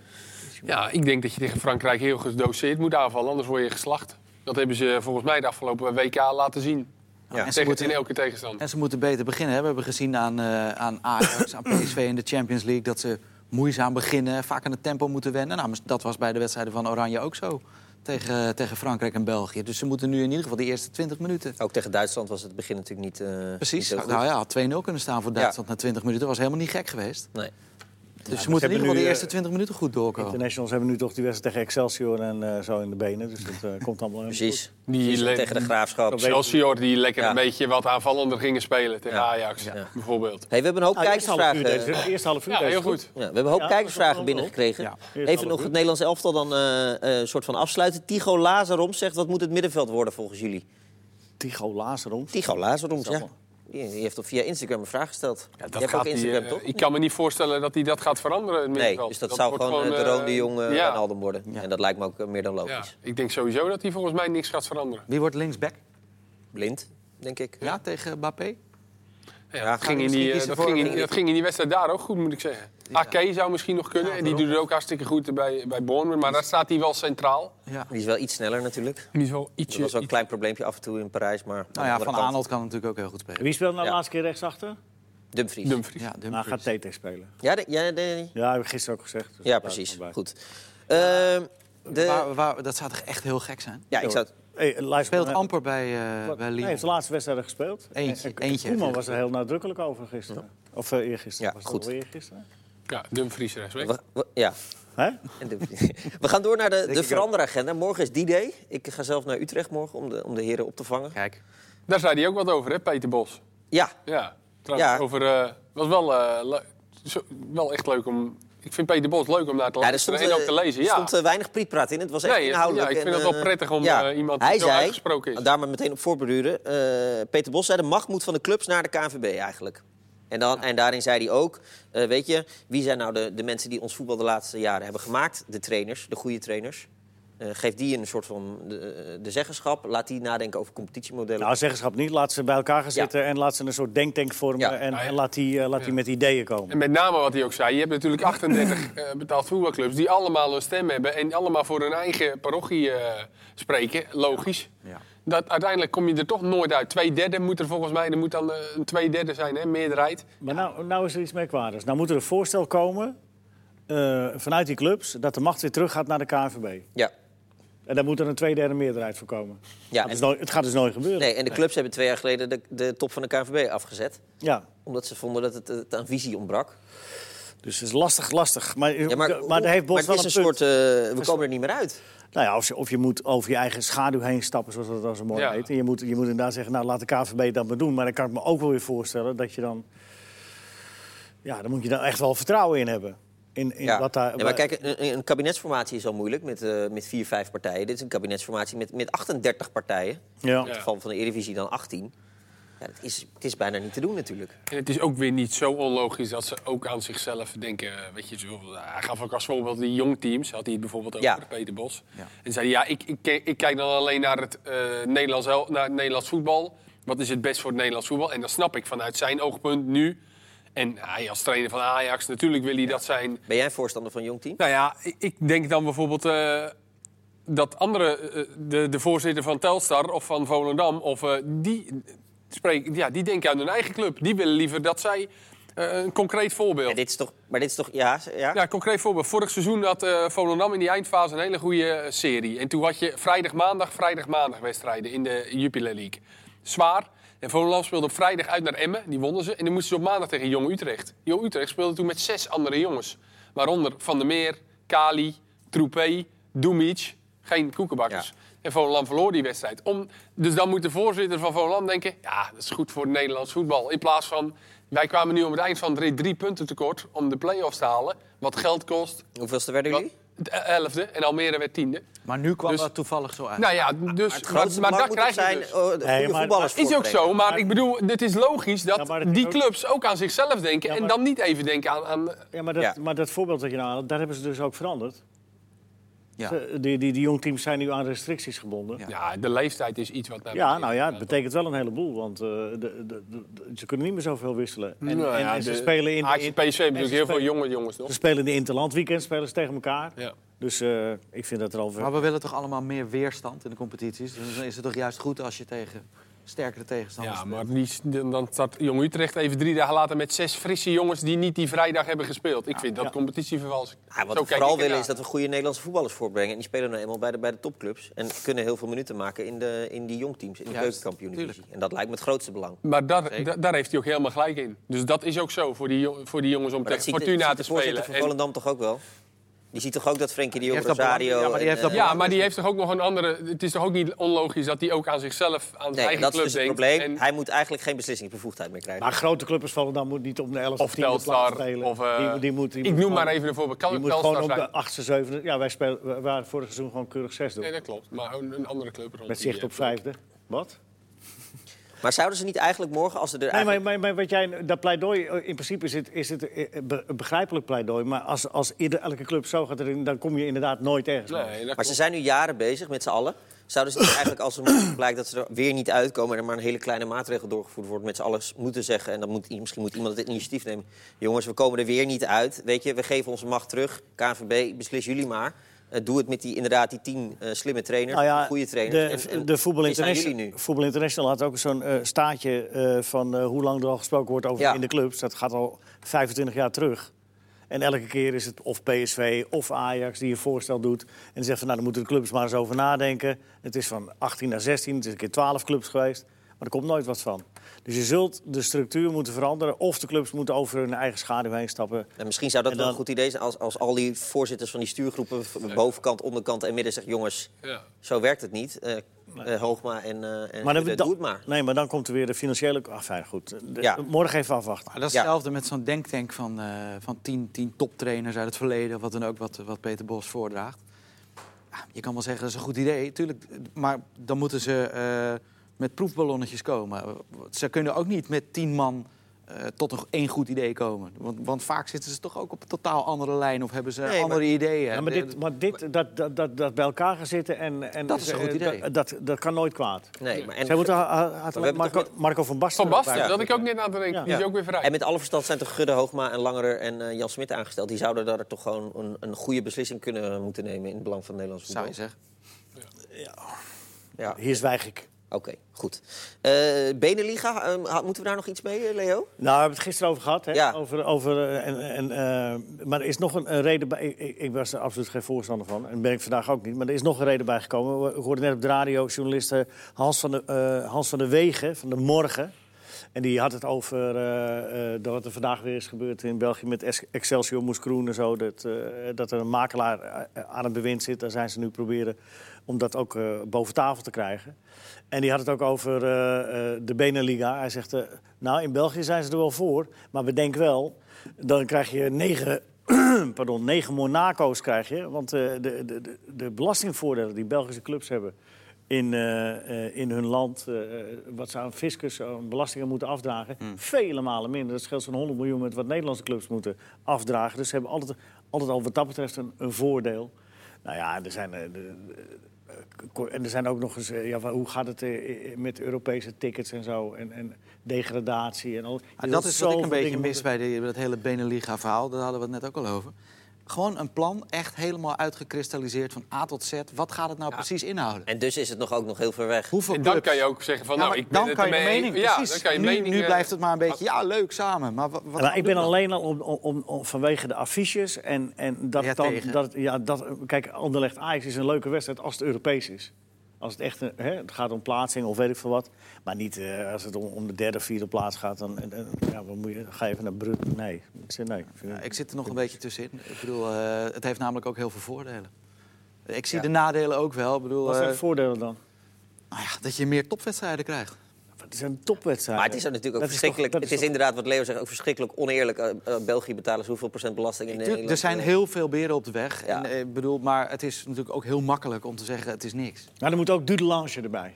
[SPEAKER 4] Ja, ik denk dat je tegen Frankrijk heel gedoseerd moet aanvallen, anders word je geslacht. Dat hebben ze volgens mij de afgelopen WK laten zien.
[SPEAKER 2] Ja, en ze
[SPEAKER 4] tegen
[SPEAKER 2] moeten-
[SPEAKER 4] in elke tegenstander.
[SPEAKER 2] En ze moeten beter beginnen. Hè. We hebben gezien aan, eh, aan Ajax, aan PSV in de Champions League... dat ze moeizaam beginnen, vaak aan het tempo moeten wennen. Nou, dat was bij de wedstrijden van Oranje ook zo. Tegen, tegen Frankrijk en België. Dus ze moeten nu in ieder geval de eerste 20 minuten...
[SPEAKER 1] Ook tegen Duitsland was het begin natuurlijk niet, eh, niet
[SPEAKER 2] Precies.
[SPEAKER 1] Oh, heel goed.
[SPEAKER 2] Nou ja, had 2-0 kunnen staan voor Duitsland na 20 minuten. was helemaal niet gek geweest.
[SPEAKER 4] nou,
[SPEAKER 1] Nee.
[SPEAKER 2] Dus ze moeten in
[SPEAKER 3] hebben
[SPEAKER 2] ieder geval
[SPEAKER 3] nu,
[SPEAKER 2] de
[SPEAKER 3] eh,
[SPEAKER 2] eerste 20 minuten goed doorkomen.
[SPEAKER 3] Internationals hebben nu toch die wedstrijd tegen Excelsior en eh, zo in de benen. Dus dat eh, komt allemaal helemaal
[SPEAKER 1] Precies.
[SPEAKER 4] Die
[SPEAKER 1] Precies,
[SPEAKER 4] le-
[SPEAKER 1] tegen de graafschap.
[SPEAKER 3] weet-
[SPEAKER 4] Excelsior die lekker
[SPEAKER 1] Ja.
[SPEAKER 4] een beetje wat aanvallender gingen spelen tegen
[SPEAKER 1] Ja.
[SPEAKER 4] Ajax,
[SPEAKER 1] Ja.
[SPEAKER 4] bijvoorbeeld.
[SPEAKER 1] Hey, we hebben een hoop
[SPEAKER 3] goed. Nou, eerst half
[SPEAKER 1] kijkersvragen.
[SPEAKER 3] uur deze- Eerst half uur
[SPEAKER 4] Ja,
[SPEAKER 3] deze
[SPEAKER 4] heel goed.
[SPEAKER 1] Ja, we hebben een hoop
[SPEAKER 3] Ja,
[SPEAKER 1] kijkersvragen
[SPEAKER 3] dat is wel een
[SPEAKER 1] binnengekregen.
[SPEAKER 2] hoop.
[SPEAKER 1] Even nog het Nederlands elftal dan eh, eh, soort van afsluiten. Tigo Lazarom zegt, wat moet het middenveld worden volgens jullie?
[SPEAKER 3] Tigo Lazarom.
[SPEAKER 1] Tigo Lazarom,
[SPEAKER 3] is
[SPEAKER 1] ja. Die, die heeft op via Instagram een vraag gesteld.
[SPEAKER 4] Ja,
[SPEAKER 1] Je hebt ook
[SPEAKER 4] die,
[SPEAKER 1] Instagram,
[SPEAKER 4] eh,
[SPEAKER 1] toch?
[SPEAKER 4] Ik kan me niet voorstellen dat hij dat gaat veranderen. in het
[SPEAKER 1] Nee,
[SPEAKER 4] middenveld.
[SPEAKER 1] dus dat, zou
[SPEAKER 4] wordt
[SPEAKER 1] gewoon, eh, de
[SPEAKER 4] eh,
[SPEAKER 1] Roon de Jong en
[SPEAKER 4] ja.
[SPEAKER 1] Wijnaldum worden. En dat lijkt me ook eh, meer dan
[SPEAKER 4] Ja,
[SPEAKER 1] logisch.
[SPEAKER 4] ik denk sowieso dat hij volgens mij niks gaat veranderen.
[SPEAKER 2] Wie wordt linksback?
[SPEAKER 1] Blind, denk ik.
[SPEAKER 2] Ja, tegen Mbappé?
[SPEAKER 4] Ja, dat, ging
[SPEAKER 2] hij
[SPEAKER 4] in die,
[SPEAKER 2] misschien
[SPEAKER 4] eh,
[SPEAKER 2] kiezen
[SPEAKER 4] dat,
[SPEAKER 2] voor-
[SPEAKER 4] ging in, dat ging in die wedstrijd daar ook goed, moet ik zeggen. Ake zou misschien nog kunnen. en die doet het ook hartstikke goed bij, bij Bournemouth. Maar daar staat hij wel centraal.
[SPEAKER 2] Nou Ja.
[SPEAKER 1] Die is wel iets sneller natuurlijk.
[SPEAKER 4] Die is wel ietsje...
[SPEAKER 1] Dat was wel een klein probleempje af en toe in Parijs, maar... aan de
[SPEAKER 2] Nou ja,
[SPEAKER 1] andere
[SPEAKER 2] Van
[SPEAKER 1] kant,
[SPEAKER 2] Aanholt kan natuurlijk ook heel goed spelen.
[SPEAKER 3] Wie speelde nou
[SPEAKER 1] Ja.
[SPEAKER 3] de laatste keer rechtsachter?
[SPEAKER 1] Dumfries.
[SPEAKER 4] Dumfries.
[SPEAKER 2] Ja, Dumfries.
[SPEAKER 3] Nou, gaat Tete spelen.
[SPEAKER 1] Ja, de- ja, de-
[SPEAKER 3] Ja, heb ik gisteren ook gezegd. Dus
[SPEAKER 1] ja,
[SPEAKER 3] daar
[SPEAKER 1] precies.
[SPEAKER 3] blijft het
[SPEAKER 1] Goed. Ehm, de,
[SPEAKER 2] Waar- waar- dat zou toch echt heel gek zijn?
[SPEAKER 1] ja, ik zou...
[SPEAKER 3] bij. Hey, Lazarom
[SPEAKER 2] Speelt
[SPEAKER 3] heeft-
[SPEAKER 2] amper bij, eh, bij
[SPEAKER 3] Hij
[SPEAKER 2] Lyon.
[SPEAKER 3] heeft de laatste wedstrijd gespeeld.
[SPEAKER 2] Eentje,
[SPEAKER 3] En- en
[SPEAKER 2] eentje
[SPEAKER 3] Eh, Koeman
[SPEAKER 2] heeft-
[SPEAKER 3] was er heel nadrukkelijk over gisteren. Of eh, eergisteren.
[SPEAKER 1] Ja,
[SPEAKER 3] was het
[SPEAKER 1] goed.
[SPEAKER 3] alweer eergisteren?
[SPEAKER 4] Ja, Dumfries rechtsback.
[SPEAKER 1] we- we- ja,
[SPEAKER 3] Hè?
[SPEAKER 1] En de- We gaan door naar de, de veranderagenda. Morgen is die day. Ik ga zelf naar Utrecht morgen om de, om de heren op te vangen.
[SPEAKER 2] Kijk,
[SPEAKER 4] Daar zei hij ook wat over, hè, Peter Bos.
[SPEAKER 1] Ja,
[SPEAKER 4] Ja, trouwens,
[SPEAKER 1] Ja.
[SPEAKER 4] over... eh, was wel, eh, le- zo- wel echt leuk om... Ik vind Peter Bos leuk om naar te
[SPEAKER 1] ja er
[SPEAKER 4] luisteren
[SPEAKER 1] stond,
[SPEAKER 4] en
[SPEAKER 1] eh,
[SPEAKER 4] ook te lezen.
[SPEAKER 1] er
[SPEAKER 4] Ja.
[SPEAKER 1] stond eh, weinig prietpraat in. Het was echt
[SPEAKER 4] Nee,
[SPEAKER 1] inhoudelijk.
[SPEAKER 4] ja, ik vind
[SPEAKER 1] en,
[SPEAKER 4] het wel
[SPEAKER 1] eh,
[SPEAKER 4] prettig om, eh, iemand die
[SPEAKER 1] Hij
[SPEAKER 4] zo
[SPEAKER 1] zei,
[SPEAKER 4] uitgesproken is.
[SPEAKER 1] Daar maar meteen op voorbeduren. eh, Peter Bos zei, de macht moet van de clubs naar de KNVB eigenlijk. En, dan, en daarin zei hij ook, eh, weet je, wie zijn nou de, de mensen die ons voetbal de laatste jaren hebben gemaakt? De trainers, de goede trainers. Eh, geef die een soort van eh, de, de zeggenschap. Laat die nadenken over competitiemodellen.
[SPEAKER 3] Nou, zeggenschap niet. Laat ze bij elkaar gaan zitten en laat ze een soort denktank vormen.
[SPEAKER 1] Ja.
[SPEAKER 3] En,
[SPEAKER 4] Nou ja.
[SPEAKER 3] en laat die, eh, laat die
[SPEAKER 4] Ja.
[SPEAKER 3] met ideeën komen.
[SPEAKER 4] En met name wat hij ook zei, je hebt natuurlijk 38 eh, betaald voetbalclubs die allemaal een stem hebben en allemaal voor hun eigen parochie eh, spreken. Logisch.
[SPEAKER 2] Ja.
[SPEAKER 4] Dat, uiteindelijk kom je er toch nooit uit. Twee derde moet er volgens mij, er moet dan eh, een twee derde zijn, hè, meerderheid.
[SPEAKER 3] Maar nou, nou is er iets merkwaardigs. Nou moet er een voorstel komen eh, vanuit die clubs... dat de macht weer terug gaat naar de KNVB.
[SPEAKER 1] Ja.
[SPEAKER 3] En daar moet er een tweederde meerderheid voor komen.
[SPEAKER 1] Ja,
[SPEAKER 3] dat is
[SPEAKER 1] en-
[SPEAKER 3] nooit- het gaat dus nooit gebeuren.
[SPEAKER 1] Nee, en de clubs hebben twee jaar geleden de, de top van de KNVB afgezet.
[SPEAKER 3] Ja.
[SPEAKER 1] Omdat ze vonden dat het, het aan visie ontbrak.
[SPEAKER 3] Dus het is lastig, lastig. Maar,
[SPEAKER 1] Ja,
[SPEAKER 3] maar, daar heeft Bos
[SPEAKER 1] maar
[SPEAKER 3] wel
[SPEAKER 1] het is
[SPEAKER 3] een
[SPEAKER 1] een
[SPEAKER 3] punt.
[SPEAKER 1] soort, eh, we komen er niet meer uit.
[SPEAKER 3] Nou ja, of, je, of je moet over je eigen schaduw heen stappen, zoals dat dan zo mooi
[SPEAKER 4] Ja.
[SPEAKER 3] heet. En je moet, je moet inderdaad zeggen, nou laat de KVB dat maar doen. Maar dan kan ik me ook wel weer voorstellen dat je dan... Ja, dan moet je daar echt wel vertrouwen in hebben. In, in
[SPEAKER 1] Ja.
[SPEAKER 3] wat daar,
[SPEAKER 1] Ja, maar kijk, een, een kabinetsformatie is al moeilijk met, eh, met vier, vijf partijen. Dit is een kabinetsformatie met, met 38 partijen.
[SPEAKER 3] Ja.
[SPEAKER 1] In het geval van de Eredivisie dan 18. Ja, dat is, het is bijna niet te doen natuurlijk.
[SPEAKER 4] En het is ook weer niet zo onlogisch dat ze ook aan zichzelf denken. eh, Weet je, zo, hij gaf ook als voorbeeld die jongteams, had hij het bijvoorbeeld over
[SPEAKER 1] Ja.
[SPEAKER 4] Peter Bos.
[SPEAKER 2] Ja.
[SPEAKER 4] En zei hij, ja, ik, ik, ke- ik kijk dan alleen naar het, eh, Nederlands, el- naar het Nederlands voetbal. Wat is het best voor het Nederlands voetbal? En dat snap ik vanuit zijn oogpunt nu. En hij als trainer van Ajax, natuurlijk wil hij dat zijn
[SPEAKER 1] Ben jij voorstander van jong team?
[SPEAKER 4] nou ja, ik- ik denk dan bijvoorbeeld eh, dat andere, eh, de, de voorzitter van Telstar of van Volendam, of, eh, die, spreken, ja, die denken aan hun eigen club. Die willen liever dat zij eh, een concreet voorbeeld.
[SPEAKER 1] Ja, dit is toch, maar dit is toch, ja, ja.
[SPEAKER 4] Ja, een concreet voorbeeld. Vorig seizoen had eh, Volendam in die eindfase een hele goede eh, serie. En toen had je vrijdag-maandag, vrijdag-maandag wedstrijden in de Jupiler League. Zwaar. En Volendam speelde op vrijdag uit naar Emmen. Die wonnen ze. En dan moesten ze op maandag tegen Jong Utrecht. Jong Utrecht speelde toen met zes andere jongens. Waaronder Van der Meer, Kali, Troepé, Dumic. Geen koekenbakkers.
[SPEAKER 1] Ja.
[SPEAKER 4] Dus, En Volendam verloor die wedstrijd. Om, dus dan moet de voorzitter van Volendam denken... ja, dat is goed voor het Nederlands voetbal. In plaats van, wij kwamen nu om het eind van drie, drie punten tekort... om de play-offs te halen, wat geld kost.
[SPEAKER 1] Hoeveelste werden
[SPEAKER 4] Wat,
[SPEAKER 1] jullie?
[SPEAKER 4] de elfde en Almere werd tiende.
[SPEAKER 2] Maar nu kwam
[SPEAKER 4] Dus-
[SPEAKER 2] dat toevallig zo uit.
[SPEAKER 4] Nou ja, dus,
[SPEAKER 1] Ah. Het grootste
[SPEAKER 4] maar,
[SPEAKER 1] belang
[SPEAKER 4] maar dat
[SPEAKER 1] moet
[SPEAKER 4] krijg
[SPEAKER 1] toch
[SPEAKER 4] je
[SPEAKER 1] zijn,
[SPEAKER 4] dus.
[SPEAKER 1] eh, goede
[SPEAKER 3] Nee, maar-
[SPEAKER 1] voetballers
[SPEAKER 4] Is ook
[SPEAKER 1] voortbrengen.
[SPEAKER 4] zo, maar
[SPEAKER 3] Maar-
[SPEAKER 4] ik bedoel, het is logisch dat,
[SPEAKER 3] Ja, maar dat
[SPEAKER 4] die
[SPEAKER 3] is ook-
[SPEAKER 4] clubs ook aan zichzelf denken...
[SPEAKER 3] Ja,
[SPEAKER 4] en
[SPEAKER 3] maar-
[SPEAKER 4] dan niet even denken aan... aan
[SPEAKER 3] ja, maar, dat,
[SPEAKER 1] Ja.
[SPEAKER 3] maar dat voorbeeld dat je nou haalt, daar hebben ze dus ook veranderd.
[SPEAKER 2] Ja.
[SPEAKER 3] Ze- Die, die, die jongteams zijn nu aan restricties gebonden.
[SPEAKER 2] Ja.
[SPEAKER 3] Ja,
[SPEAKER 4] ja, de leeftijd is iets wat... naar beneden
[SPEAKER 3] nou ja, het
[SPEAKER 4] gaat.
[SPEAKER 3] betekent wel een heleboel. Want eh, de, de, de- de- ze kunnen niet meer zoveel wisselen. En,
[SPEAKER 4] Nou
[SPEAKER 3] en-
[SPEAKER 4] ja,
[SPEAKER 3] en ze
[SPEAKER 4] de-
[SPEAKER 3] spelen in...
[SPEAKER 4] Ajax
[SPEAKER 3] in-
[SPEAKER 4] en PSV hebben
[SPEAKER 3] en ze
[SPEAKER 4] natuurlijk heel veel
[SPEAKER 3] spelen-
[SPEAKER 4] jonge jongens nog.
[SPEAKER 3] Ze spelen in de Interland weekend, spelen ze tegen elkaar.
[SPEAKER 4] Ja.
[SPEAKER 3] Dus eh, ik vind dat er al
[SPEAKER 2] Maar we willen toch allemaal meer weerstand in de competities? Dus Dan is het toch juist goed als je tegen sterkere tegenstanders
[SPEAKER 4] Ja,
[SPEAKER 2] speelt?
[SPEAKER 3] eh,
[SPEAKER 4] maar die, dan staat Jong Utrecht even drie dagen later met zes frisse jongens die niet die vrijdag hebben gespeeld. Ik vind dat
[SPEAKER 3] Ja.
[SPEAKER 4] competitievervalsing.
[SPEAKER 1] Ja, Ah, wat
[SPEAKER 4] Zo
[SPEAKER 1] we
[SPEAKER 4] kijk
[SPEAKER 1] vooral
[SPEAKER 4] ik ernaar.
[SPEAKER 1] willen is dat we goede Nederlandse voetballers voortbrengen. En die spelen nou eenmaal bij de, bij de topclubs. En kunnen heel veel minuten maken in, de, in die jongteams, in de
[SPEAKER 2] Juist,
[SPEAKER 1] keukenkampioen-divisie. En dat lijkt me het grootste belang.
[SPEAKER 4] Maar daar, da- daar heeft hij ook helemaal gelijk in. Dus dat is ook zo voor die, jo- voor die jongens om
[SPEAKER 1] Maar dat
[SPEAKER 4] tegen
[SPEAKER 1] ziet de,
[SPEAKER 4] Fortuna
[SPEAKER 1] ziet
[SPEAKER 4] te
[SPEAKER 1] de voorzitter
[SPEAKER 4] spelen.
[SPEAKER 1] van
[SPEAKER 4] En-
[SPEAKER 1] Volendam toch ook wel? Die ziet toch ook dat Frenkie de Jong,
[SPEAKER 2] heeft dat belang-
[SPEAKER 1] Rosario...
[SPEAKER 2] ja, maar die
[SPEAKER 1] en,
[SPEAKER 2] heeft dat
[SPEAKER 1] eh,
[SPEAKER 4] ja, maar die heeft toch ook nog een andere... Het is toch ook niet onlogisch dat hij ook aan zichzelf, aan zijn
[SPEAKER 1] Nee,
[SPEAKER 4] eigen
[SPEAKER 1] dat is
[SPEAKER 4] club
[SPEAKER 1] dus het
[SPEAKER 4] denkt.
[SPEAKER 1] probleem.
[SPEAKER 4] En-
[SPEAKER 1] Hij moet eigenlijk geen beslissingsbevoegdheid meer krijgen.
[SPEAKER 3] Maar grote clubs vallen dan moet niet om de 11
[SPEAKER 4] of
[SPEAKER 3] 10e plaats
[SPEAKER 4] Telstar.
[SPEAKER 3] spelen.
[SPEAKER 4] Of, eh,
[SPEAKER 3] die, die moet, die
[SPEAKER 4] ik
[SPEAKER 3] moet
[SPEAKER 4] noem
[SPEAKER 3] gewoon-
[SPEAKER 4] maar even een voorbeeld.
[SPEAKER 3] Die
[SPEAKER 4] Kan
[SPEAKER 3] moet
[SPEAKER 4] Telstar
[SPEAKER 3] gewoon op de
[SPEAKER 4] zijn?
[SPEAKER 3] 8e, 7e. Ja, wij spelen, we waren vorig seizoen gewoon keurig 6 doen.
[SPEAKER 4] Nee, dat klopt. Maar een, een andere club rond
[SPEAKER 3] met
[SPEAKER 4] die,
[SPEAKER 3] zicht
[SPEAKER 4] eh,
[SPEAKER 3] op 5e. Wat?
[SPEAKER 1] Maar zouden ze niet eigenlijk morgen, als ze er
[SPEAKER 3] Nee, maar,
[SPEAKER 1] eigenlijk-
[SPEAKER 3] maar, maar wat jij, dat pleidooi, eh, in principe is het, is het eh, be- een begrijpelijk pleidooi. Maar als, als ieder, elke club zo gaat erin, dan kom je inderdaad nooit ergens. mee.
[SPEAKER 4] Nee, dat
[SPEAKER 1] Maar ze
[SPEAKER 4] klopt.
[SPEAKER 1] zijn nu jaren bezig met z'n allen. Zouden ze niet eigenlijk, als er morgen blijkt dat ze er weer niet uitkomen... en er maar een hele kleine maatregel doorgevoerd wordt... met z'n allen moeten zeggen, en dan moet, i- misschien moet iemand het initiatief nemen... jongens, we komen er weer niet uit. Weet je, we geven onze macht terug. KNVB, beslis jullie maar. Eh, doe het met die, inderdaad die tien eh, slimme trainers,
[SPEAKER 3] Nou ja,
[SPEAKER 1] die goede trainers.
[SPEAKER 3] De,
[SPEAKER 1] En- en
[SPEAKER 3] de Voetbal,
[SPEAKER 1] dit zijn
[SPEAKER 3] International,
[SPEAKER 1] jullie nu.
[SPEAKER 3] Voetbal International had ook zo'n eh, staatje eh, van eh, hoe lang er al gesproken wordt over
[SPEAKER 1] Ja.
[SPEAKER 3] in de clubs. Dat gaat al 25 jaar terug. En elke keer is het of PSV of Ajax die een voorstel doet. En zegt van nou, dan moeten de clubs maar eens over nadenken. Het is van 18 naar 16, het is een keer 12 clubs geweest. Maar er komt nooit wat van. Dus je zult de structuur moeten veranderen. Of de clubs moeten over hun eigen schaduw heen stappen.
[SPEAKER 1] En misschien zou dat
[SPEAKER 3] En
[SPEAKER 1] wel een
[SPEAKER 3] dan-
[SPEAKER 1] goed idee zijn... Als, als al die voorzitters van die stuurgroepen... v- bovenkant, onderkant en midden zeggen... jongens,
[SPEAKER 4] Ja.
[SPEAKER 1] zo werkt het niet. Eh, eh, Hoogma en, eh en
[SPEAKER 3] Maar dan,
[SPEAKER 1] Gudde,
[SPEAKER 3] dan-
[SPEAKER 1] doe het maar.
[SPEAKER 3] Nee, maar dan komt er weer de financiële... Ah, fijn, goed. De-
[SPEAKER 1] Ja.
[SPEAKER 3] Morgen even afwachten.
[SPEAKER 2] Maar dat is
[SPEAKER 1] Ja.
[SPEAKER 2] hetzelfde met zo'n denktank van, eh van tien, tien toptrainers uit het verleden, wat dan ook, wat, wat Peter Bos voordraagt. Ja, je kan wel zeggen, dat is een goed idee, tuurlijk. Maar dan moeten ze eh, met proefballonnetjes komen. Ze kunnen ook niet met tien man eh, tot een, één goed idee komen. Want, want vaak zitten ze toch ook op een totaal andere lijn of hebben ze
[SPEAKER 1] Nee,
[SPEAKER 2] andere ideeën.
[SPEAKER 3] Ja, maar dit, maar dit dat, dat, dat, dat bij elkaar gaan zitten en... en
[SPEAKER 2] Dat is een goed
[SPEAKER 3] eh,
[SPEAKER 2] idee.
[SPEAKER 3] Dat, dat, dat kan nooit kwaad.
[SPEAKER 1] Nee, maar en,
[SPEAKER 3] Zij moeten ha- ha- had-
[SPEAKER 1] hebben
[SPEAKER 3] Marco,
[SPEAKER 1] toch
[SPEAKER 3] Marco van Basten...
[SPEAKER 4] Van Basten,
[SPEAKER 3] erbij
[SPEAKER 4] dat ik ook net aan te denken.
[SPEAKER 3] Ja.
[SPEAKER 4] Die is ook weer vrij.
[SPEAKER 1] en met alle verstand zijn toch Gudde Hoogma en Langerer en eh, Jan Smit aangesteld. Die zouden daar toch gewoon een, een goede beslissing kunnen moeten nemen in het belang van het Nederlands
[SPEAKER 2] zou
[SPEAKER 1] voetbal.
[SPEAKER 2] je zeggen.
[SPEAKER 1] Ja,
[SPEAKER 3] Hier zwijg ik.
[SPEAKER 1] oké, goed. Eh Beneliga, eh, ha- moeten we daar nog iets mee, eh, Leo?
[SPEAKER 3] Nou, we hebben het gisteren over gehad. Hè?
[SPEAKER 1] Ja.
[SPEAKER 3] Over, over, eh, en, en, eh, maar er is nog een, een reden bij. Ik, ik- ik was er absoluut geen voorstander van. En ben ik vandaag ook niet. Maar er is nog een reden bij gekomen. Ik hoorde net op de radio journalist eh, Hans van de, eh, Hans van de Wegen van de Morgen. En die had het over eh, eh, dat wat er vandaag weer is gebeurd in België met Es- Excelsior Moeskroen en zo. Dat, eh, dat er een makelaar eh, aan het bewind zit. Daar zijn ze nu proberen om dat ook eh, boven tafel te krijgen. En die had het ook over eh, eh, de Beneliga. Hij zegt, eh, nou in België zijn ze er wel voor, maar bedenk wel, dan krijg je negen, pardon, negen Monaco's krijg je. Want eh, de, de, de, de belastingvoordelen die Belgische clubs hebben in, eh, eh, in hun land, eh, eh, wat ze aan fiscus, aan belastingen moeten afdragen,
[SPEAKER 2] Hmm.
[SPEAKER 3] vele malen minder. Dat scheelt zo'n 100 miljoen met wat Nederlandse clubs moeten afdragen. Dus ze hebben altijd, altijd al wat dat betreft een, een voordeel. Nou ja, er zijn, eh, de- Ko- En er zijn ook nog eens, eh, ja, wa- hoe gaat het eh, eh, met Europese tickets en zo? En, en degradatie en al.
[SPEAKER 2] Maar
[SPEAKER 3] Je
[SPEAKER 2] Ah, dat
[SPEAKER 3] wilt
[SPEAKER 2] is wat ik
[SPEAKER 3] zoveel
[SPEAKER 2] een beetje
[SPEAKER 3] dingen
[SPEAKER 2] mis
[SPEAKER 3] moeten-
[SPEAKER 2] bij, de, dat hele Beneliga-verhaal. Daar hadden we het net ook al over. Gewoon een plan, echt helemaal uitgekristalliseerd van A tot Z. Wat gaat het nou precies inhouden?
[SPEAKER 1] En dus is het nog ook nog heel ver weg.
[SPEAKER 2] Hoeveel
[SPEAKER 4] En dan
[SPEAKER 2] clubs?
[SPEAKER 4] kan je ook zeggen van,
[SPEAKER 2] Ja,
[SPEAKER 4] nou,
[SPEAKER 2] maar
[SPEAKER 4] ik ben
[SPEAKER 2] dan
[SPEAKER 4] het
[SPEAKER 2] kan je de
[SPEAKER 4] ermee-
[SPEAKER 2] mening,
[SPEAKER 4] Ja,
[SPEAKER 2] precies.
[SPEAKER 4] dan kan je
[SPEAKER 2] nu,
[SPEAKER 4] mening...
[SPEAKER 2] nu
[SPEAKER 4] eh,
[SPEAKER 2] blijft het maar een beetje, ja, leuk, samen. Maar wa- wat,
[SPEAKER 3] Maar
[SPEAKER 2] gaan
[SPEAKER 3] Nou, ik
[SPEAKER 2] we
[SPEAKER 3] ben
[SPEAKER 2] doen dan?
[SPEAKER 3] alleen al om, om, om, om- vanwege de affiches en, en dat
[SPEAKER 2] Ja,
[SPEAKER 3] het dan...
[SPEAKER 2] tegen.
[SPEAKER 3] Dat, het- ja, dat, kijk, Anderlecht Ajax is een leuke wedstrijd als het Europees is. Als het echt een- hè, het gaat om plaatsing of weet ik veel wat. Maar niet eh, als het om, om de derde, vierde plaats gaat. Dan, en- en- ja, wat moet je, ga je even naar Brut? Nee. Ik zeg nee.
[SPEAKER 2] Ja, Nou, ik zit er nog een beetje tussenin. Ik bedoel, eh, het heeft namelijk ook heel veel voordelen. Ik zie de nadelen ook wel. Ik bedoel,
[SPEAKER 3] Wat zijn
[SPEAKER 2] eh,
[SPEAKER 3] de voordelen dan?
[SPEAKER 2] nou ja, dat je meer topwedstrijden krijgt.
[SPEAKER 3] Het zijn topwedstrijden.
[SPEAKER 1] Maar het is ook natuurlijk ook
[SPEAKER 3] Dat toch-
[SPEAKER 1] verschrikkelijk.
[SPEAKER 3] dat
[SPEAKER 1] het is
[SPEAKER 3] toch-
[SPEAKER 1] inderdaad, wat Leo zegt, ook verschrikkelijk oneerlijk. Eh, eh, België betalen ze hoeveel procent belasting in
[SPEAKER 2] Tuurlijk,
[SPEAKER 1] Nederland? Eh,
[SPEAKER 2] er zijn heel veel beren op de weg.
[SPEAKER 1] Ja.
[SPEAKER 2] En, eh, ik bedoel, maar het is natuurlijk ook heel makkelijk om te zeggen, het is niks.
[SPEAKER 3] Maar er Nou, moet ook Dudelange erbij.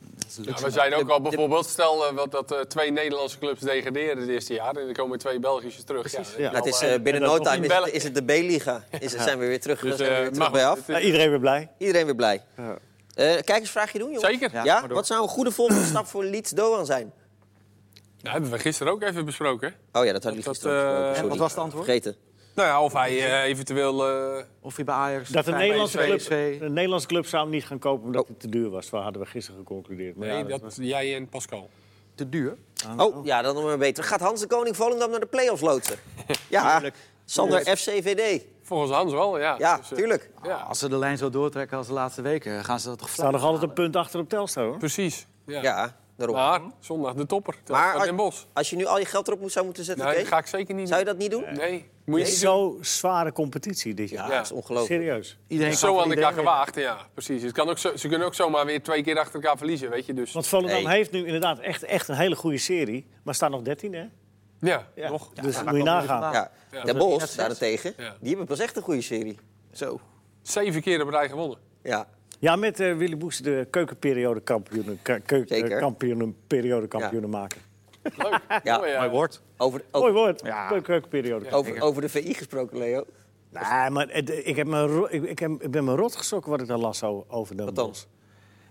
[SPEAKER 2] Dat is
[SPEAKER 4] Ja,
[SPEAKER 2] luxe.
[SPEAKER 4] nou, we zijn ook al bijvoorbeeld, stel eh, wat, dat eh, twee Nederlandse clubs degraderen het eerste jaar... en er komen twee Belgische terug. Ja,
[SPEAKER 3] ja.
[SPEAKER 1] Nou, het is, eh,
[SPEAKER 3] En
[SPEAKER 4] dus,
[SPEAKER 1] binnen
[SPEAKER 3] dat
[SPEAKER 1] no
[SPEAKER 3] nog
[SPEAKER 1] time
[SPEAKER 4] in
[SPEAKER 1] is het,
[SPEAKER 4] België.
[SPEAKER 1] is het de B-liga. Is het, zijn we weer terug,
[SPEAKER 4] Dus,
[SPEAKER 1] zijn we
[SPEAKER 4] eh,
[SPEAKER 1] weer terug
[SPEAKER 4] maar
[SPEAKER 1] bij
[SPEAKER 4] goed,
[SPEAKER 1] af.
[SPEAKER 4] het is-
[SPEAKER 3] Nou, iedereen weer blij.
[SPEAKER 1] Iedereen weer blij. Eh kijkersvraagje doen, jongens?
[SPEAKER 4] Zeker.
[SPEAKER 1] Ja,
[SPEAKER 4] Ja,
[SPEAKER 2] maar door.
[SPEAKER 1] wat zou een goede volgende stap voor Leeds Doan zijn?
[SPEAKER 4] Dat hebben we gisteren ook even besproken. hè?
[SPEAKER 1] Oh ja, dat hadden jullie
[SPEAKER 4] Dat,
[SPEAKER 1] gisteren
[SPEAKER 4] eh,
[SPEAKER 1] afgesproken,
[SPEAKER 4] en
[SPEAKER 2] En
[SPEAKER 1] sorry.
[SPEAKER 2] wat was het antwoord?
[SPEAKER 1] Vergeten.
[SPEAKER 4] Nou ja, of hij eh, eventueel... eh,
[SPEAKER 2] Of je bij Ajax...
[SPEAKER 3] Dat een
[SPEAKER 2] Feyenoord,
[SPEAKER 3] Nederlandse, club,
[SPEAKER 2] PSV.
[SPEAKER 3] een Nederlandse club zou hem niet gaan kopen
[SPEAKER 1] Oh.
[SPEAKER 3] omdat het te duur was. Waar hadden we gisteren geconcludeerd. Maar ja,
[SPEAKER 4] nee,
[SPEAKER 3] dat
[SPEAKER 4] dat,
[SPEAKER 3] was-
[SPEAKER 4] jij en Pascal.
[SPEAKER 2] Te duur.
[SPEAKER 1] Oh, ja, dan nog maar beter. Gaat Hans de Koning Volendam naar de play-offs loodsen? Ja, Sander FCVD.
[SPEAKER 4] Volgens Hans wel, ja.
[SPEAKER 1] Ja,
[SPEAKER 4] Dus, eh,
[SPEAKER 1] tuurlijk.
[SPEAKER 4] Ja,
[SPEAKER 2] Als ze de lijn zo doortrekken als de laatste weken, gaan ze dat toch
[SPEAKER 3] staat
[SPEAKER 2] vlak.
[SPEAKER 3] nog altijd een punt achter op Telstra, hoor.
[SPEAKER 4] precies. Ja.
[SPEAKER 1] Ja, daarom.
[SPEAKER 4] Maar zondag de topper.
[SPEAKER 1] Maar
[SPEAKER 4] Maar Den Bos.
[SPEAKER 1] Als je nu al je geld erop moet, zou moeten zetten,
[SPEAKER 4] Nee,
[SPEAKER 1] Kees,
[SPEAKER 4] dat ga ik zeker niet
[SPEAKER 1] zou je
[SPEAKER 4] doen.
[SPEAKER 1] dat niet doen?
[SPEAKER 4] Nee, moet je
[SPEAKER 3] Het is
[SPEAKER 4] niet doen.
[SPEAKER 3] zo'n zware competitie dit jaar.
[SPEAKER 1] Ja, dat is ongelooflijk.
[SPEAKER 3] Serieus.
[SPEAKER 2] Iedereen kan
[SPEAKER 4] Zo
[SPEAKER 2] voor
[SPEAKER 4] aan elkaar
[SPEAKER 2] iedereen winnen.
[SPEAKER 4] gewaagd, ja, precies. Het kan ook zo- ze kunnen ook zomaar weer twee keer achter elkaar verliezen, weet je. Dus
[SPEAKER 3] Want Volendam
[SPEAKER 1] Nee.
[SPEAKER 3] heeft nu inderdaad echt, echt een hele goede serie. Maar staat nog 13, hè?
[SPEAKER 4] ja,
[SPEAKER 3] Ja.
[SPEAKER 4] nog.
[SPEAKER 3] dus
[SPEAKER 2] daar
[SPEAKER 3] moet je
[SPEAKER 2] komen we
[SPEAKER 3] nagaan.
[SPEAKER 2] vandaan.
[SPEAKER 1] Ja.
[SPEAKER 4] Ja.
[SPEAKER 1] Den
[SPEAKER 2] Ja.
[SPEAKER 1] Bos, daarentegen,
[SPEAKER 4] Ja.
[SPEAKER 1] die hebben pas echt een goede serie.
[SPEAKER 2] Zo.
[SPEAKER 4] Zeven keer op rij gewonnen.
[SPEAKER 1] Ja.
[SPEAKER 3] Ja, met eh, Willy Boes de keukenperiode kampioenen, ka- keuken-
[SPEAKER 1] Zeker.
[SPEAKER 3] eh, kampioenen, periode kampioenen maken.
[SPEAKER 4] Leuk.
[SPEAKER 1] Ja.
[SPEAKER 4] Ah, Mooi,
[SPEAKER 2] Mooi woord.
[SPEAKER 1] Over,
[SPEAKER 3] Mooi
[SPEAKER 1] over,
[SPEAKER 3] woord.
[SPEAKER 2] Ja.
[SPEAKER 3] Keu- Keukenperiode.
[SPEAKER 1] over, over de VI gesproken, Leo.
[SPEAKER 3] Nee, maar het- eh, ik, heb me ro- ik, ik, heb, ik ben me rot geschrokken wat ik daar las o- over Den
[SPEAKER 1] Wat dan?
[SPEAKER 3] Bosch.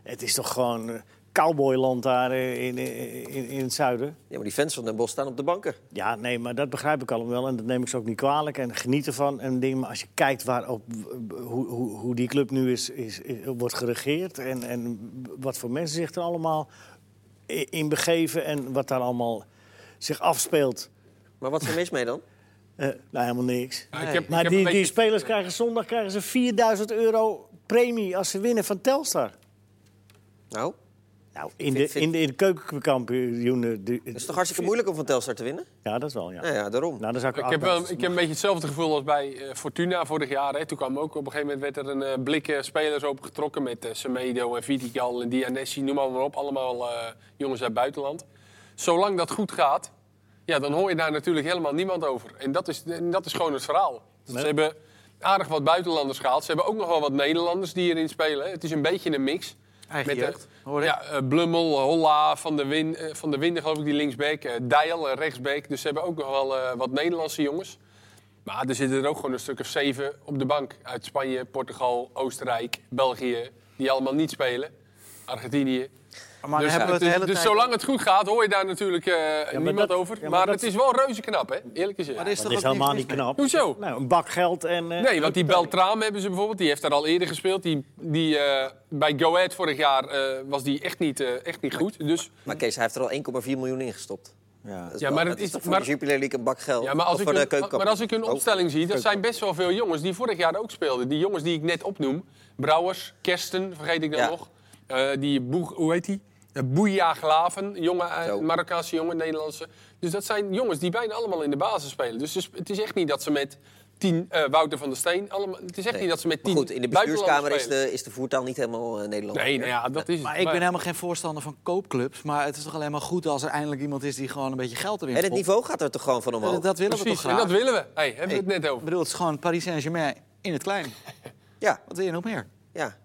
[SPEAKER 3] Het is toch gewoon eh, cowboyland daar eh, in, in, in het zuiden?
[SPEAKER 1] Ja, maar die fans van Den Bos staan op de banken.
[SPEAKER 3] Ja, nee, maar dat begrijp ik allemaal wel. En dat neem ik ze ook niet kwalijk en geniet ervan. En dingen. Maar als je kijkt waar op, hoe, hoe, hoe die club nu is, is, is- wordt geregeerd... En, en wat voor mensen zich er allemaal i- in begeven... en wat daar allemaal zich afspeelt...
[SPEAKER 1] Maar wat is er mis mee dan?
[SPEAKER 3] eh, nou, helemaal niks.
[SPEAKER 4] Ja,
[SPEAKER 2] Nee.
[SPEAKER 4] ik heb, ik
[SPEAKER 3] Maar
[SPEAKER 4] heb
[SPEAKER 3] die,
[SPEAKER 4] een
[SPEAKER 3] die
[SPEAKER 4] beetje-
[SPEAKER 3] spelers krijgen zondag krijgen ze 4000 euro premie als ze winnen van Telstar.
[SPEAKER 1] Nou,
[SPEAKER 3] Nou, in de,
[SPEAKER 1] Vind- vind-
[SPEAKER 3] in de, in de keukenkampioenen... de-
[SPEAKER 1] het is toch hartstikke moeilijk om van Telstar te winnen?
[SPEAKER 3] Ja, dat is wel, ja.
[SPEAKER 1] Nou ja, daarom.
[SPEAKER 3] Nou, dan zou ik,
[SPEAKER 4] Ik heb, wel, ik heb een beetje hetzelfde gevoel als bij eh, Fortuna vorig jaar. Hè. Toen kwam ook op een gegeven moment werd er een eh, blik eh, spelers opengetrokken met eh, Semedo en Vidigal en Dianessi, noem maar, maar op. Allemaal eh, jongens uit het buitenland. Zolang dat goed gaat, ja, dan hoor je daar natuurlijk helemaal niemand over. En dat is, en dat is gewoon het verhaal. Ze hebben aardig wat buitenlanders gehaald. Ze hebben ook nog wel wat Nederlanders die erin spelen. Het is een beetje een mix.
[SPEAKER 2] Eigen
[SPEAKER 4] Met de-
[SPEAKER 2] jeugd, hoor ik.
[SPEAKER 4] Ja, eh, Blummel, Holla, Van der Win, eh, Van der Winden geloof ik, die linksbeek. eh Dijl, eh, rechtsbeek. Dus ze hebben ook nog wel eh, wat Nederlandse jongens. Maar er zitten er ook gewoon een stuk of zeven op de bank. Uit Spanje, Portugal, Oostenrijk, België. Die allemaal niet spelen. Argentinië.
[SPEAKER 2] Maar
[SPEAKER 4] dus
[SPEAKER 2] dan hebben we het de
[SPEAKER 4] dus-
[SPEAKER 2] hele
[SPEAKER 4] dus
[SPEAKER 2] tijd...
[SPEAKER 4] zolang het goed gaat, hoor je daar natuurlijk eh, niemand
[SPEAKER 3] dat-
[SPEAKER 4] over.
[SPEAKER 3] ja, maar
[SPEAKER 4] maar
[SPEAKER 3] dat-
[SPEAKER 4] het is wel reuze knap, hè? Eerlijk gezegd.
[SPEAKER 2] Maar er is
[SPEAKER 3] Dat
[SPEAKER 2] toch ook niks
[SPEAKER 3] is helemaal
[SPEAKER 2] mis
[SPEAKER 3] niet
[SPEAKER 2] mee?
[SPEAKER 3] knap.
[SPEAKER 4] Hoezo?
[SPEAKER 3] Nou, een bak geld en... eh,
[SPEAKER 4] Nee, want die Beltraam hebben ze bijvoorbeeld. Die heeft daar al eerder gespeeld. Die, die, eh, bij Go Ahead vorig jaar eh, was die echt niet, eh, echt niet goed. Dus,
[SPEAKER 1] Maar Kees, hij heeft er al 1,4 miljoen in gestopt.
[SPEAKER 3] Ja.
[SPEAKER 1] Dat
[SPEAKER 4] Ja,
[SPEAKER 1] wel-
[SPEAKER 4] maar
[SPEAKER 1] dat
[SPEAKER 4] het
[SPEAKER 1] is
[SPEAKER 4] is-
[SPEAKER 1] toch voor
[SPEAKER 4] maar-
[SPEAKER 1] de Jupiler League een bak geld?
[SPEAKER 4] ja, maar, als
[SPEAKER 1] Of
[SPEAKER 4] ik
[SPEAKER 1] voor de
[SPEAKER 4] hun,
[SPEAKER 1] Keukenkampioen.
[SPEAKER 4] maar als ik hun opstelling zie, dat zijn best wel veel jongens die vorig jaar ook speelden. Die jongens die ik net opnoem. Brouwers, Kersten, vergeet ik dan
[SPEAKER 1] Ja.
[SPEAKER 4] nog. Eh, die Boeg, hoe heet die? Eh, Bouya Glaven, jonge, eh,
[SPEAKER 1] Zo.
[SPEAKER 4] Marokkaanse jongen, Nederlandse. Dus dat zijn jongens die bijna allemaal in de basis spelen. Dus het is- het is echt niet dat ze met tien eh, Wouter van der Steen... Allemaal, het is echt niet dat ze met
[SPEAKER 1] Maar
[SPEAKER 4] tien
[SPEAKER 1] goed, in de
[SPEAKER 4] buitenlanders
[SPEAKER 1] bestuurskamer is
[SPEAKER 4] spelen.
[SPEAKER 1] de, is de voertaal niet helemaal eh, Nederlands.
[SPEAKER 4] Nee, nou ja, dat is het.
[SPEAKER 2] Maar ik ben helemaal geen voorstander van koopclubs. Maar het is toch alleen maar goed als er eindelijk iemand is die gewoon een beetje geld erin
[SPEAKER 1] En het
[SPEAKER 2] stopt.
[SPEAKER 1] niveau gaat er toch gewoon van
[SPEAKER 3] Eh,
[SPEAKER 1] omhoog?
[SPEAKER 2] Dat, dat willen we toch
[SPEAKER 4] Precies,
[SPEAKER 2] graag?
[SPEAKER 4] en dat willen we. Hey, hebben we
[SPEAKER 2] Hey,
[SPEAKER 4] het net
[SPEAKER 2] Ik
[SPEAKER 4] over.
[SPEAKER 2] bedoel, het is gewoon Paris Saint-Germain in het klein.
[SPEAKER 1] Ja,
[SPEAKER 2] Wat wil je nog meer?
[SPEAKER 1] ja.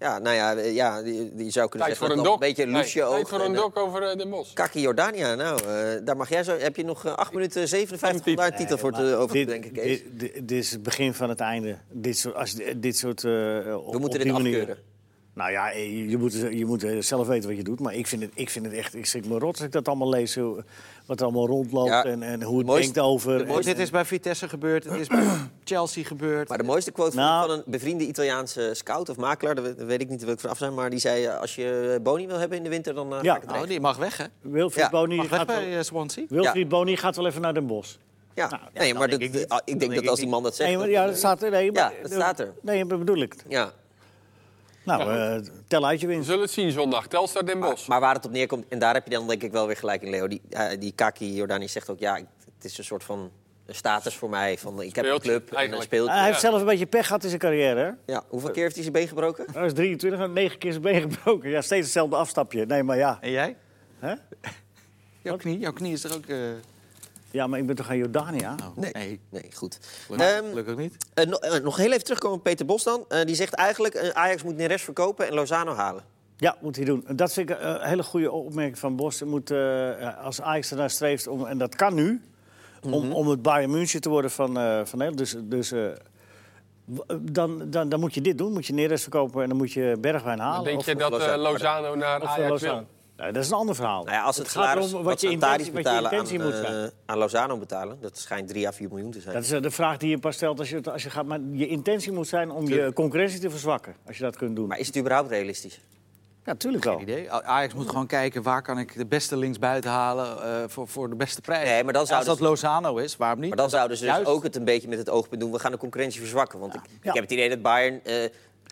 [SPEAKER 1] Ja, nou ja, eh, ja die, die zou kunnen
[SPEAKER 4] Tijd voor
[SPEAKER 1] zeggen
[SPEAKER 4] een
[SPEAKER 1] dat
[SPEAKER 4] dok.
[SPEAKER 1] een beetje
[SPEAKER 4] Hey,
[SPEAKER 1] Lucia
[SPEAKER 4] tijd
[SPEAKER 1] ook.
[SPEAKER 4] voor een dok over eh, Den Bosch.
[SPEAKER 1] Kaki Jordania, nou, eh, daar mag jij zo... Heb je nog eh, 8 minuten 57 om daar een titel voor te over te
[SPEAKER 3] Dit,
[SPEAKER 1] denken,
[SPEAKER 3] dit,
[SPEAKER 1] Kees?
[SPEAKER 3] dit, dit is het begin van het einde. Dit soort, als, je- dit soort eh, op,
[SPEAKER 1] We
[SPEAKER 3] op
[SPEAKER 1] moeten
[SPEAKER 3] die
[SPEAKER 1] dit
[SPEAKER 3] manier.
[SPEAKER 1] afkeuren.
[SPEAKER 3] Nou ja, je je moet, je moet eh, zelf weten wat je doet. Maar ik vind het, ik vind het echt... Ik schrik me rot als ik dat allemaal lees. hoe- Wat er allemaal rondloopt
[SPEAKER 1] Ja,
[SPEAKER 3] en, en hoe het
[SPEAKER 1] mooiste-
[SPEAKER 3] denkt over...
[SPEAKER 2] Mooi, dit is bij Vitesse gebeurd, het is bij Chelsea gebeurd.
[SPEAKER 1] Maar de mooiste quote vond ik
[SPEAKER 3] Nou.
[SPEAKER 1] van een bevriende Italiaanse scout of makelaar... dat we- dat weet ik niet wil ik vanaf zijn, maar die zei... eh, als je eh, Boni wil hebben in de winter, dan eh,
[SPEAKER 3] Ja.
[SPEAKER 1] ga ik het
[SPEAKER 2] Nou,
[SPEAKER 1] regelen.
[SPEAKER 2] die mag weg, hè?
[SPEAKER 3] Wilfried,
[SPEAKER 1] Ja,
[SPEAKER 3] Boni
[SPEAKER 2] Mag weg
[SPEAKER 3] gaat
[SPEAKER 2] bij
[SPEAKER 3] wel,
[SPEAKER 2] eh, Swansea.
[SPEAKER 3] Wilfried Boni gaat wel even naar Den Bosch.
[SPEAKER 1] Ja,
[SPEAKER 3] Nou, ja,
[SPEAKER 1] nee,
[SPEAKER 3] dan
[SPEAKER 1] maar
[SPEAKER 3] denk
[SPEAKER 1] dat-
[SPEAKER 3] ik niet.
[SPEAKER 1] ah, ik
[SPEAKER 3] Dan
[SPEAKER 1] denk
[SPEAKER 3] denk
[SPEAKER 1] dat
[SPEAKER 3] ik
[SPEAKER 1] als die
[SPEAKER 3] niet.
[SPEAKER 1] man dat zegt...
[SPEAKER 3] Nee, maar,
[SPEAKER 1] dat-
[SPEAKER 3] ja, dat staat er. Nee, maar,
[SPEAKER 1] Ja, dat staat er.
[SPEAKER 3] Nee, dat bedoel ik.
[SPEAKER 1] ja.
[SPEAKER 3] Nou, eh, tel uit je
[SPEAKER 4] We
[SPEAKER 3] winst.
[SPEAKER 4] zullen het zien zondag. Telstar Den Bosch.
[SPEAKER 1] Maar waar het op neerkomt, en daar heb je dan denk ik wel weer gelijk in, Leo. Die, eh, die Kaki Jordani zegt ook, ja, ik- het is een soort van status voor mij. Van, ik heb een
[SPEAKER 4] Speeltje,
[SPEAKER 1] club en een
[SPEAKER 4] eigenlijk.
[SPEAKER 1] speeltje.
[SPEAKER 3] Hij heeft
[SPEAKER 4] Ja.
[SPEAKER 3] zelf een beetje pech gehad in zijn carrière, hè?
[SPEAKER 1] Ja, hoeveel keer heeft hij zijn been gebroken?
[SPEAKER 3] Hij is 23 en 9 keer zijn been gebroken. Ja, steeds hetzelfde afstapje. Nee, maar ja.
[SPEAKER 2] En jij?
[SPEAKER 3] Hè?
[SPEAKER 2] Jouw knie, jouw knie is er ook... eh,
[SPEAKER 3] Ja, maar ik ben toch aan Jordania?
[SPEAKER 2] oh,
[SPEAKER 1] Nee.
[SPEAKER 2] nee.
[SPEAKER 1] Nee, goed.
[SPEAKER 2] Gelukkig-
[SPEAKER 1] Ehm,
[SPEAKER 2] gelukkig niet.
[SPEAKER 1] eh, no- eh, nog heel even terugkomen op Peter Bos dan. Eh, die zegt eigenlijk, eh, Ajax moet Neres verkopen en Lozano halen.
[SPEAKER 3] Ja, moet hij doen. Dat vind ik eh, een hele goede opmerking van Bos. Hij Moet, eh, als Ajax ernaar streeft, om, en dat kan nu...
[SPEAKER 1] Mhm.
[SPEAKER 3] om, om het Bayern München te worden van, eh, van Nederland. Dus, dus eh, w- eh, dan, dan, dan moet je dit doen. Moet je Neres verkopen en dan moet je Bergwijn halen.
[SPEAKER 4] Dan denk
[SPEAKER 3] Of-
[SPEAKER 4] je dat eh,
[SPEAKER 1] Lozano.
[SPEAKER 4] Lozano naar
[SPEAKER 3] of, eh,
[SPEAKER 4] Ajax
[SPEAKER 3] Lozano.
[SPEAKER 4] wil.
[SPEAKER 3] Nou, dat is een ander verhaal.
[SPEAKER 1] Nou ja, als het,
[SPEAKER 3] gaat
[SPEAKER 1] salaris
[SPEAKER 3] erom
[SPEAKER 1] wat ze aan Tadic
[SPEAKER 3] intentie- wat je
[SPEAKER 1] betalen aan,
[SPEAKER 3] intentie moet zijn.
[SPEAKER 1] eh, aan Lozano betalen... dat schijnt 3 à 4 miljoen te zijn.
[SPEAKER 3] Dat is eh, de vraag die je pas stelt als je, het- als je gaat. Maar je intentie moet zijn om je concurrentie te verzwakken. Als je dat kunt doen.
[SPEAKER 1] Maar is het überhaupt realistisch?
[SPEAKER 3] Ja, natuurlijk
[SPEAKER 1] Oh.
[SPEAKER 3] wel.
[SPEAKER 2] Idee. A- Ajax moet gewoon kijken waar kan ik de beste linksbuiten halen eh, voor, voor de beste prijs.
[SPEAKER 1] Nee, maar dan
[SPEAKER 2] als
[SPEAKER 1] zouden
[SPEAKER 2] dat Lozano is, waarom niet?
[SPEAKER 1] Maar dan zouden ze dus
[SPEAKER 2] Juist.
[SPEAKER 1] ook het een beetje met het oogpunt doen. We gaan de concurrentie verzwakken. Want ik, ik
[SPEAKER 3] Ja.
[SPEAKER 1] heb het idee dat Bayern eh,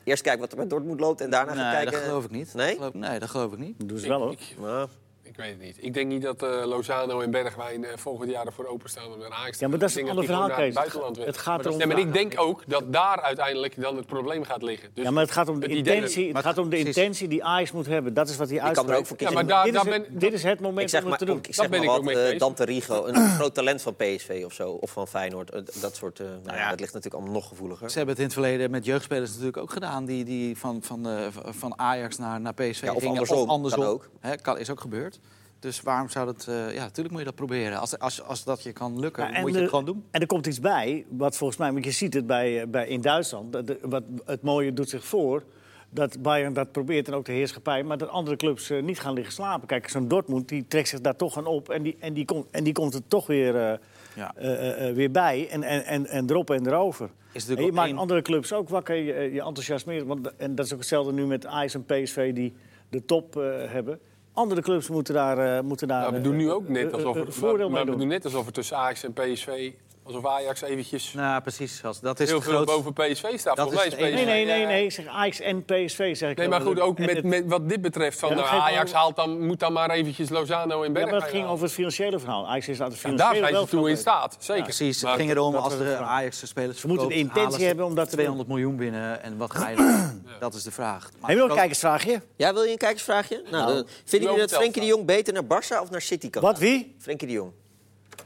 [SPEAKER 1] eerst kijkt wat er met Dortmund loopt... en daarna gaat
[SPEAKER 2] Nee,
[SPEAKER 1] kijken...
[SPEAKER 2] dat geloof ik niet.
[SPEAKER 1] Nee?
[SPEAKER 2] Dat geloof- nee, dat geloof ik niet.
[SPEAKER 3] Dat doen ze wel hoor.
[SPEAKER 1] Nou,
[SPEAKER 4] Ik weet het niet. Ik denk niet dat eh, Lozano en Bergwijn eh, volgend jaar ervoor openstaan om naar Ajax te
[SPEAKER 3] Ja, maar dat is
[SPEAKER 4] Ik
[SPEAKER 3] een
[SPEAKER 4] denk
[SPEAKER 3] ander
[SPEAKER 4] die
[SPEAKER 3] verhaal,
[SPEAKER 4] gewoon naar
[SPEAKER 3] Kees.
[SPEAKER 4] het buitenland wil.
[SPEAKER 3] Het gaat
[SPEAKER 4] Maar dat-
[SPEAKER 3] erom.
[SPEAKER 4] Nee, maar ik denk ook dat daar uiteindelijk dan het probleem gaat liggen. Dus
[SPEAKER 3] Ja, maar het gaat om de
[SPEAKER 4] idee-
[SPEAKER 3] intentie, het
[SPEAKER 2] Maar-
[SPEAKER 3] gaat om de
[SPEAKER 2] precies.
[SPEAKER 3] intentie die Ajax moet hebben. Dat is wat hij
[SPEAKER 1] er
[SPEAKER 3] uitstraalt.
[SPEAKER 1] ook voor kiezen.
[SPEAKER 4] Ja, maar
[SPEAKER 3] dit,
[SPEAKER 4] daar-
[SPEAKER 3] is
[SPEAKER 4] daar
[SPEAKER 3] het,
[SPEAKER 4] ben-
[SPEAKER 3] dit is het moment
[SPEAKER 1] ik zeg
[SPEAKER 3] om
[SPEAKER 1] maar,
[SPEAKER 3] het te doen.
[SPEAKER 1] ik
[SPEAKER 4] Dat
[SPEAKER 1] zeg
[SPEAKER 4] ben
[SPEAKER 1] maar
[SPEAKER 4] ik ook
[SPEAKER 1] wat,
[SPEAKER 4] mee
[SPEAKER 1] eh,
[SPEAKER 4] eens.
[SPEAKER 1] Dante Rigo, een groot talent van PSV of zo, of van Feyenoord. eh, d- dat soort, eh, nou ja, dat ligt natuurlijk allemaal nog gevoeliger.
[SPEAKER 2] Ze hebben het in het verleden met jeugdspelers natuurlijk ook gedaan. Die, die van, van, eh, van Ajax naar, naar PSV
[SPEAKER 1] Ja, of
[SPEAKER 2] gingen.
[SPEAKER 1] andersom,
[SPEAKER 2] Of andersom.
[SPEAKER 1] kan ook.
[SPEAKER 2] Hè, kan, is ook gebeurd. Dus waarom zou dat... eh, ja, natuurlijk moet je dat proberen. Als, als, als dat je kan lukken,
[SPEAKER 3] Ja, en
[SPEAKER 2] moet je
[SPEAKER 3] de-
[SPEAKER 2] het gewoon doen.
[SPEAKER 3] En er komt iets bij, wat volgens mij, want je ziet het bij, eh, bij, in Duitsland, dat de- wat, het mooie doet zich voor. Dat Bayern dat probeert en ook de heerschappij, maar dat andere clubs eh, niet gaan liggen slapen. Kijk, zo'n Dortmund die trekt zich daar toch aan op en die, en die, komt en die komt er toch weer, eh,
[SPEAKER 2] Ja.
[SPEAKER 3] eh, eh, eh, weer bij en, en, en, en erop en erover.
[SPEAKER 2] Is
[SPEAKER 3] En
[SPEAKER 2] natuurlijk
[SPEAKER 3] je
[SPEAKER 2] wel
[SPEAKER 3] maakt
[SPEAKER 2] één-
[SPEAKER 3] andere clubs ook wakker, je, eh, je enthousiasmeert. Want, en dat is ook hetzelfde nu met Ajax en PSV die de top eh, hebben. Andere clubs moeten daar... eh, moeten daar
[SPEAKER 4] Nou, we
[SPEAKER 3] eh,
[SPEAKER 4] doen nu ook
[SPEAKER 3] eh,
[SPEAKER 4] net
[SPEAKER 3] eh,
[SPEAKER 4] alsof,
[SPEAKER 3] eh,
[SPEAKER 4] het-
[SPEAKER 3] voordeel mee
[SPEAKER 4] maar we
[SPEAKER 3] doen.
[SPEAKER 4] doen net alsof het tussen Ajax en PSV... alsof Ajax eventjes
[SPEAKER 2] Nou, precies. Als, dat is
[SPEAKER 4] heel
[SPEAKER 2] het
[SPEAKER 4] veel
[SPEAKER 2] grootste-
[SPEAKER 4] boven PSV staat.
[SPEAKER 2] Dat
[SPEAKER 4] Volgens mij
[SPEAKER 2] is
[SPEAKER 4] is
[SPEAKER 2] het
[SPEAKER 4] PSV...
[SPEAKER 3] Nee, nee, nee,
[SPEAKER 4] eh,
[SPEAKER 3] nee. Zeg Ajax en PSV zeg ik wel.
[SPEAKER 4] Nee, maar goed, ook
[SPEAKER 3] En
[SPEAKER 4] met,
[SPEAKER 3] het-
[SPEAKER 4] met wat dit betreft. Van,
[SPEAKER 3] Ja, dat
[SPEAKER 4] nou,
[SPEAKER 3] geeft wel-
[SPEAKER 4] Ajax haalt dan, moet dan maar eventjes Lozano en
[SPEAKER 3] Ja,
[SPEAKER 4] Bergwijn
[SPEAKER 3] maar het ging
[SPEAKER 4] halen.
[SPEAKER 3] over het financiële verhaal. Ajax is aan het
[SPEAKER 4] Ja, daar
[SPEAKER 3] financiële
[SPEAKER 4] zijn
[SPEAKER 3] wel
[SPEAKER 4] ze toe
[SPEAKER 3] van-
[SPEAKER 4] in staat, zeker.
[SPEAKER 2] Precies, het
[SPEAKER 4] Maar
[SPEAKER 2] ging erom
[SPEAKER 3] dat
[SPEAKER 2] als
[SPEAKER 3] was de
[SPEAKER 2] de
[SPEAKER 3] vraag.
[SPEAKER 2] Ajax spelers
[SPEAKER 3] Ze moeten de
[SPEAKER 2] verkoopt, halen
[SPEAKER 3] intentie
[SPEAKER 2] ze
[SPEAKER 3] hebben om dat te
[SPEAKER 2] 200 miljoen binnen en wat ga je doen? Dat is de vraag. Maar
[SPEAKER 3] Hebben we
[SPEAKER 2] dat-
[SPEAKER 3] nog een kijkersvraagje?
[SPEAKER 1] Ja, wil je een kijkersvraagje? Nou, eh,
[SPEAKER 4] wel
[SPEAKER 1] vinden jullie dat
[SPEAKER 4] verteld
[SPEAKER 1] Frenkie de
[SPEAKER 4] dan.
[SPEAKER 1] Jong beter naar Barça of naar City kan?
[SPEAKER 3] Wat,
[SPEAKER 1] gaan?
[SPEAKER 3] wie?
[SPEAKER 1] Frenkie de Jong.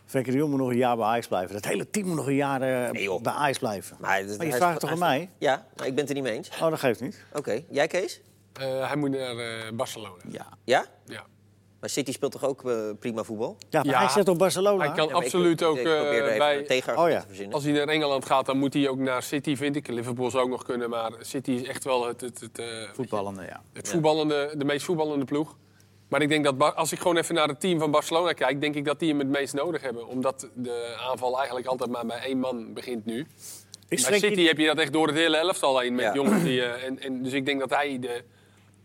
[SPEAKER 3] Frenkie de Jong moet nog een jaar bij Ajax blijven. Dat hele team moet nog een jaar eh,
[SPEAKER 1] Nee, joh.
[SPEAKER 3] bij Ajax blijven.
[SPEAKER 1] Maar, hij-
[SPEAKER 3] Maar je
[SPEAKER 1] hij-
[SPEAKER 3] vraagt toch aan
[SPEAKER 1] hij-
[SPEAKER 3] mij?
[SPEAKER 1] Ja, maar ik ben het er niet mee eens.
[SPEAKER 3] Oh, dat geeft niet.
[SPEAKER 1] Oké, jij Kees?
[SPEAKER 4] Eh, hij moet naar eh, Barcelona.
[SPEAKER 2] Ja.
[SPEAKER 1] Ja?
[SPEAKER 4] Ja.
[SPEAKER 1] Maar City speelt toch ook eh, prima voetbal?
[SPEAKER 3] Ja, maar
[SPEAKER 4] Ja.
[SPEAKER 3] hij zit op Barcelona.
[SPEAKER 4] Hij kan
[SPEAKER 1] Ja, maar ik-
[SPEAKER 4] absoluut ook
[SPEAKER 1] Ik
[SPEAKER 4] eh,
[SPEAKER 1] probeer er even een
[SPEAKER 4] bij...
[SPEAKER 1] tegenargument
[SPEAKER 3] Oh ja.
[SPEAKER 1] te verzinnen.
[SPEAKER 4] Als hij naar Engeland gaat, dan moet hij ook naar City, vind ik. Liverpool zou ook nog kunnen, maar City is echt wel het, het, het, eh,
[SPEAKER 2] Voetballende, ja.
[SPEAKER 4] het voetballende, de meest voetballende ploeg. Maar ik denk dat Bar- als ik gewoon even naar het team van Barcelona kijk, denk ik dat die hem het meest nodig hebben. Omdat de aanval eigenlijk altijd maar bij één man begint nu.
[SPEAKER 3] Ik
[SPEAKER 4] Bij
[SPEAKER 3] denk,
[SPEAKER 4] City heb je dat echt door het hele elftal heen met
[SPEAKER 1] Ja.
[SPEAKER 4] jongens die. eh, en, en, dus ik denk dat hij de.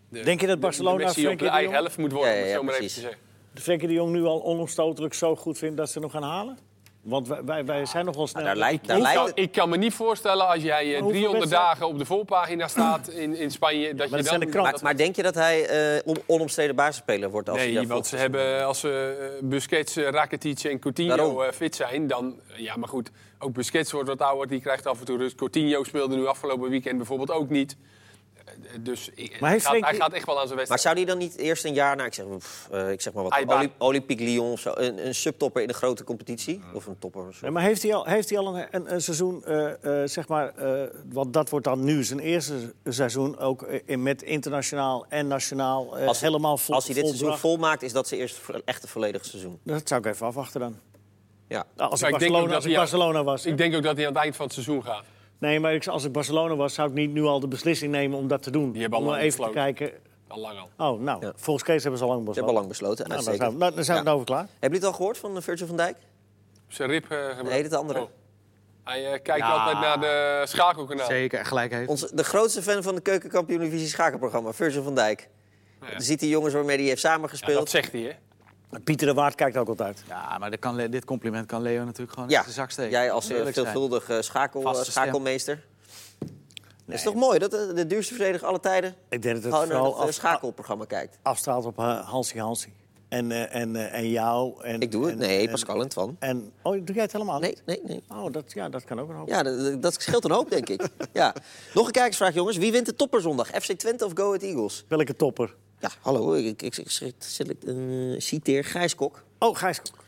[SPEAKER 4] de-
[SPEAKER 3] Denk je dat
[SPEAKER 4] de-
[SPEAKER 3] Barcelona
[SPEAKER 4] de Messi op
[SPEAKER 3] Frenkie de
[SPEAKER 4] de eigen
[SPEAKER 3] Jong-
[SPEAKER 4] helft moet worden?
[SPEAKER 1] Ja, ja,
[SPEAKER 4] om het
[SPEAKER 1] ja,
[SPEAKER 4] zo maar even
[SPEAKER 1] precies.
[SPEAKER 4] te zeggen.
[SPEAKER 3] Frenkie de Jong nu al onomstotelijk zo goed vindt dat ze hem gaan halen? Want wij, wij, wij zijn nog wel snel.
[SPEAKER 1] Nou, daar lijkt, daar
[SPEAKER 4] Ik
[SPEAKER 1] lijkt
[SPEAKER 4] kan,
[SPEAKER 1] het.
[SPEAKER 4] ik kan me niet voorstellen als jij eh,
[SPEAKER 3] hoeveel
[SPEAKER 4] 300
[SPEAKER 3] wedstrijden?
[SPEAKER 4] dagen op de voorpagina staat in, in Spanje. dat
[SPEAKER 3] dat
[SPEAKER 4] je
[SPEAKER 3] zijn
[SPEAKER 4] dan,
[SPEAKER 3] de kranten.
[SPEAKER 1] Maar, maar denk je dat hij eh, on- onomstreden basisspeler wordt? Als hij
[SPEAKER 4] Nee,
[SPEAKER 1] daar
[SPEAKER 4] want ze
[SPEAKER 1] volgt?
[SPEAKER 4] hebben als ze Busquets, eh, Rakitic en
[SPEAKER 1] Daarom.
[SPEAKER 4] Coutinho eh, fit zijn, dan... Ja, maar goed, ook Busquets wordt wat ouder, die krijgt af en toe rust. Coutinho speelde nu afgelopen weekend bijvoorbeeld ook niet. Eh, Dus eh,
[SPEAKER 3] Maar
[SPEAKER 4] hij,
[SPEAKER 3] heeft
[SPEAKER 4] gaat,
[SPEAKER 3] Frenkie-
[SPEAKER 4] hij gaat echt wel aan zijn
[SPEAKER 1] Maar
[SPEAKER 4] wedstrijd.
[SPEAKER 1] zou die dan niet eerst een jaar na, ik zeg, pff, eh, ik zeg maar wat,
[SPEAKER 4] Hij baat-
[SPEAKER 1] Oli- Olympique Lyon of zo, een, een subtopper in een grote competitie? Of een topper? sorry.
[SPEAKER 3] Nee, maar heeft hij al, heeft hij al een, een, een seizoen, eh, eh, zeg maar, eh, want dat wordt dan nu zijn eerste seizoen ook eh, in, met internationaal en nationaal eh,
[SPEAKER 1] Als-
[SPEAKER 3] helemaal vol.
[SPEAKER 1] Als hij dit seizoen
[SPEAKER 3] volbracht?
[SPEAKER 1] volmaakt, is dat zijn eerste vo- echte volledige seizoen.
[SPEAKER 3] Dat zou ik even afwachten dan.
[SPEAKER 1] Ja.
[SPEAKER 3] Nou, als
[SPEAKER 4] Maar
[SPEAKER 3] ik,
[SPEAKER 4] ik denk ook
[SPEAKER 3] Barcelona,
[SPEAKER 4] dat
[SPEAKER 3] als ik
[SPEAKER 4] hij-
[SPEAKER 3] Barcelona was.
[SPEAKER 4] Dus Ik denk ook dat hij aan het eind van het seizoen gaat.
[SPEAKER 3] Nee, maar ik- als ik Barcelona was, zou ik niet nu al de beslissing nemen om dat te doen.
[SPEAKER 4] Die hebben al
[SPEAKER 3] om
[SPEAKER 4] lang
[SPEAKER 3] even te
[SPEAKER 4] besloten.
[SPEAKER 3] kijken.
[SPEAKER 4] Al lang al.
[SPEAKER 3] Oh, nou,
[SPEAKER 1] Ja.
[SPEAKER 3] volgens Kees hebben ze al lang
[SPEAKER 1] Ze hebben al
[SPEAKER 3] besloten.
[SPEAKER 1] lang besloten.
[SPEAKER 3] Nou, dan
[SPEAKER 1] uitstekend.
[SPEAKER 3] zijn we, nou, dan zijn we
[SPEAKER 1] Ja.
[SPEAKER 3] erover klaar.
[SPEAKER 1] Hebben jullie het al gehoord van eh, Virgil van Dijk?
[SPEAKER 4] Zijn rib eh, gebroken.
[SPEAKER 1] Nee, dat andere.
[SPEAKER 4] Oh. Hij eh, kijkt
[SPEAKER 2] Ja.
[SPEAKER 4] altijd naar de schakelkanaal.
[SPEAKER 2] Zeker, en gelijk heeft.
[SPEAKER 1] Onze, de grootste fan van de keukenkampioen-divisie schakenprogramma, Virgil van Dijk.
[SPEAKER 4] Ja.
[SPEAKER 1] Ziet die jongens waarmee hij heeft
[SPEAKER 4] Ja, dat
[SPEAKER 1] samengespeeld.
[SPEAKER 4] zegt hij, hè?
[SPEAKER 3] Pieter de Waard kijkt ook altijd.
[SPEAKER 2] Ja, maar dat kan Le- dit compliment kan Leo natuurlijk gewoon in
[SPEAKER 1] ja,
[SPEAKER 2] zijn zak steken.
[SPEAKER 1] jij als eh,
[SPEAKER 2] Eerlijk zijn.
[SPEAKER 1] veelvuldig eh, schakel,
[SPEAKER 2] Vaste stem.
[SPEAKER 1] schakelmeester. Dat is toch mooi dat eh, de duurste verdediger alle tijden
[SPEAKER 3] Ik denk dat het
[SPEAKER 1] gewoon naar
[SPEAKER 3] vooral
[SPEAKER 1] het eh,
[SPEAKER 3] af-
[SPEAKER 1] schakelprogramma kijkt.
[SPEAKER 3] afstraalt op eh, Hansie Hansie. En, eh, en, eh, en jou. En,
[SPEAKER 1] Ik doe het.
[SPEAKER 3] en-
[SPEAKER 1] Nee,
[SPEAKER 3] en-
[SPEAKER 1] Pascal en Twan.
[SPEAKER 3] En, oh, doe jij het helemaal?
[SPEAKER 1] Nee, nee, nee.
[SPEAKER 3] Oh, dat, ja, dat kan ook een hoop.
[SPEAKER 1] Ja, dat, dat scheelt een hoop, denk ik. Ja. Nog een kijkersvraag, jongens. Wie wint de topperzondag? FC Twente of Go Ahead Eagles?
[SPEAKER 3] Welke topper?
[SPEAKER 1] Ja, hallo, ik, ik, ik, ik select- eh, citeer Gijs Kok.
[SPEAKER 3] Oh, Gijs. Kok.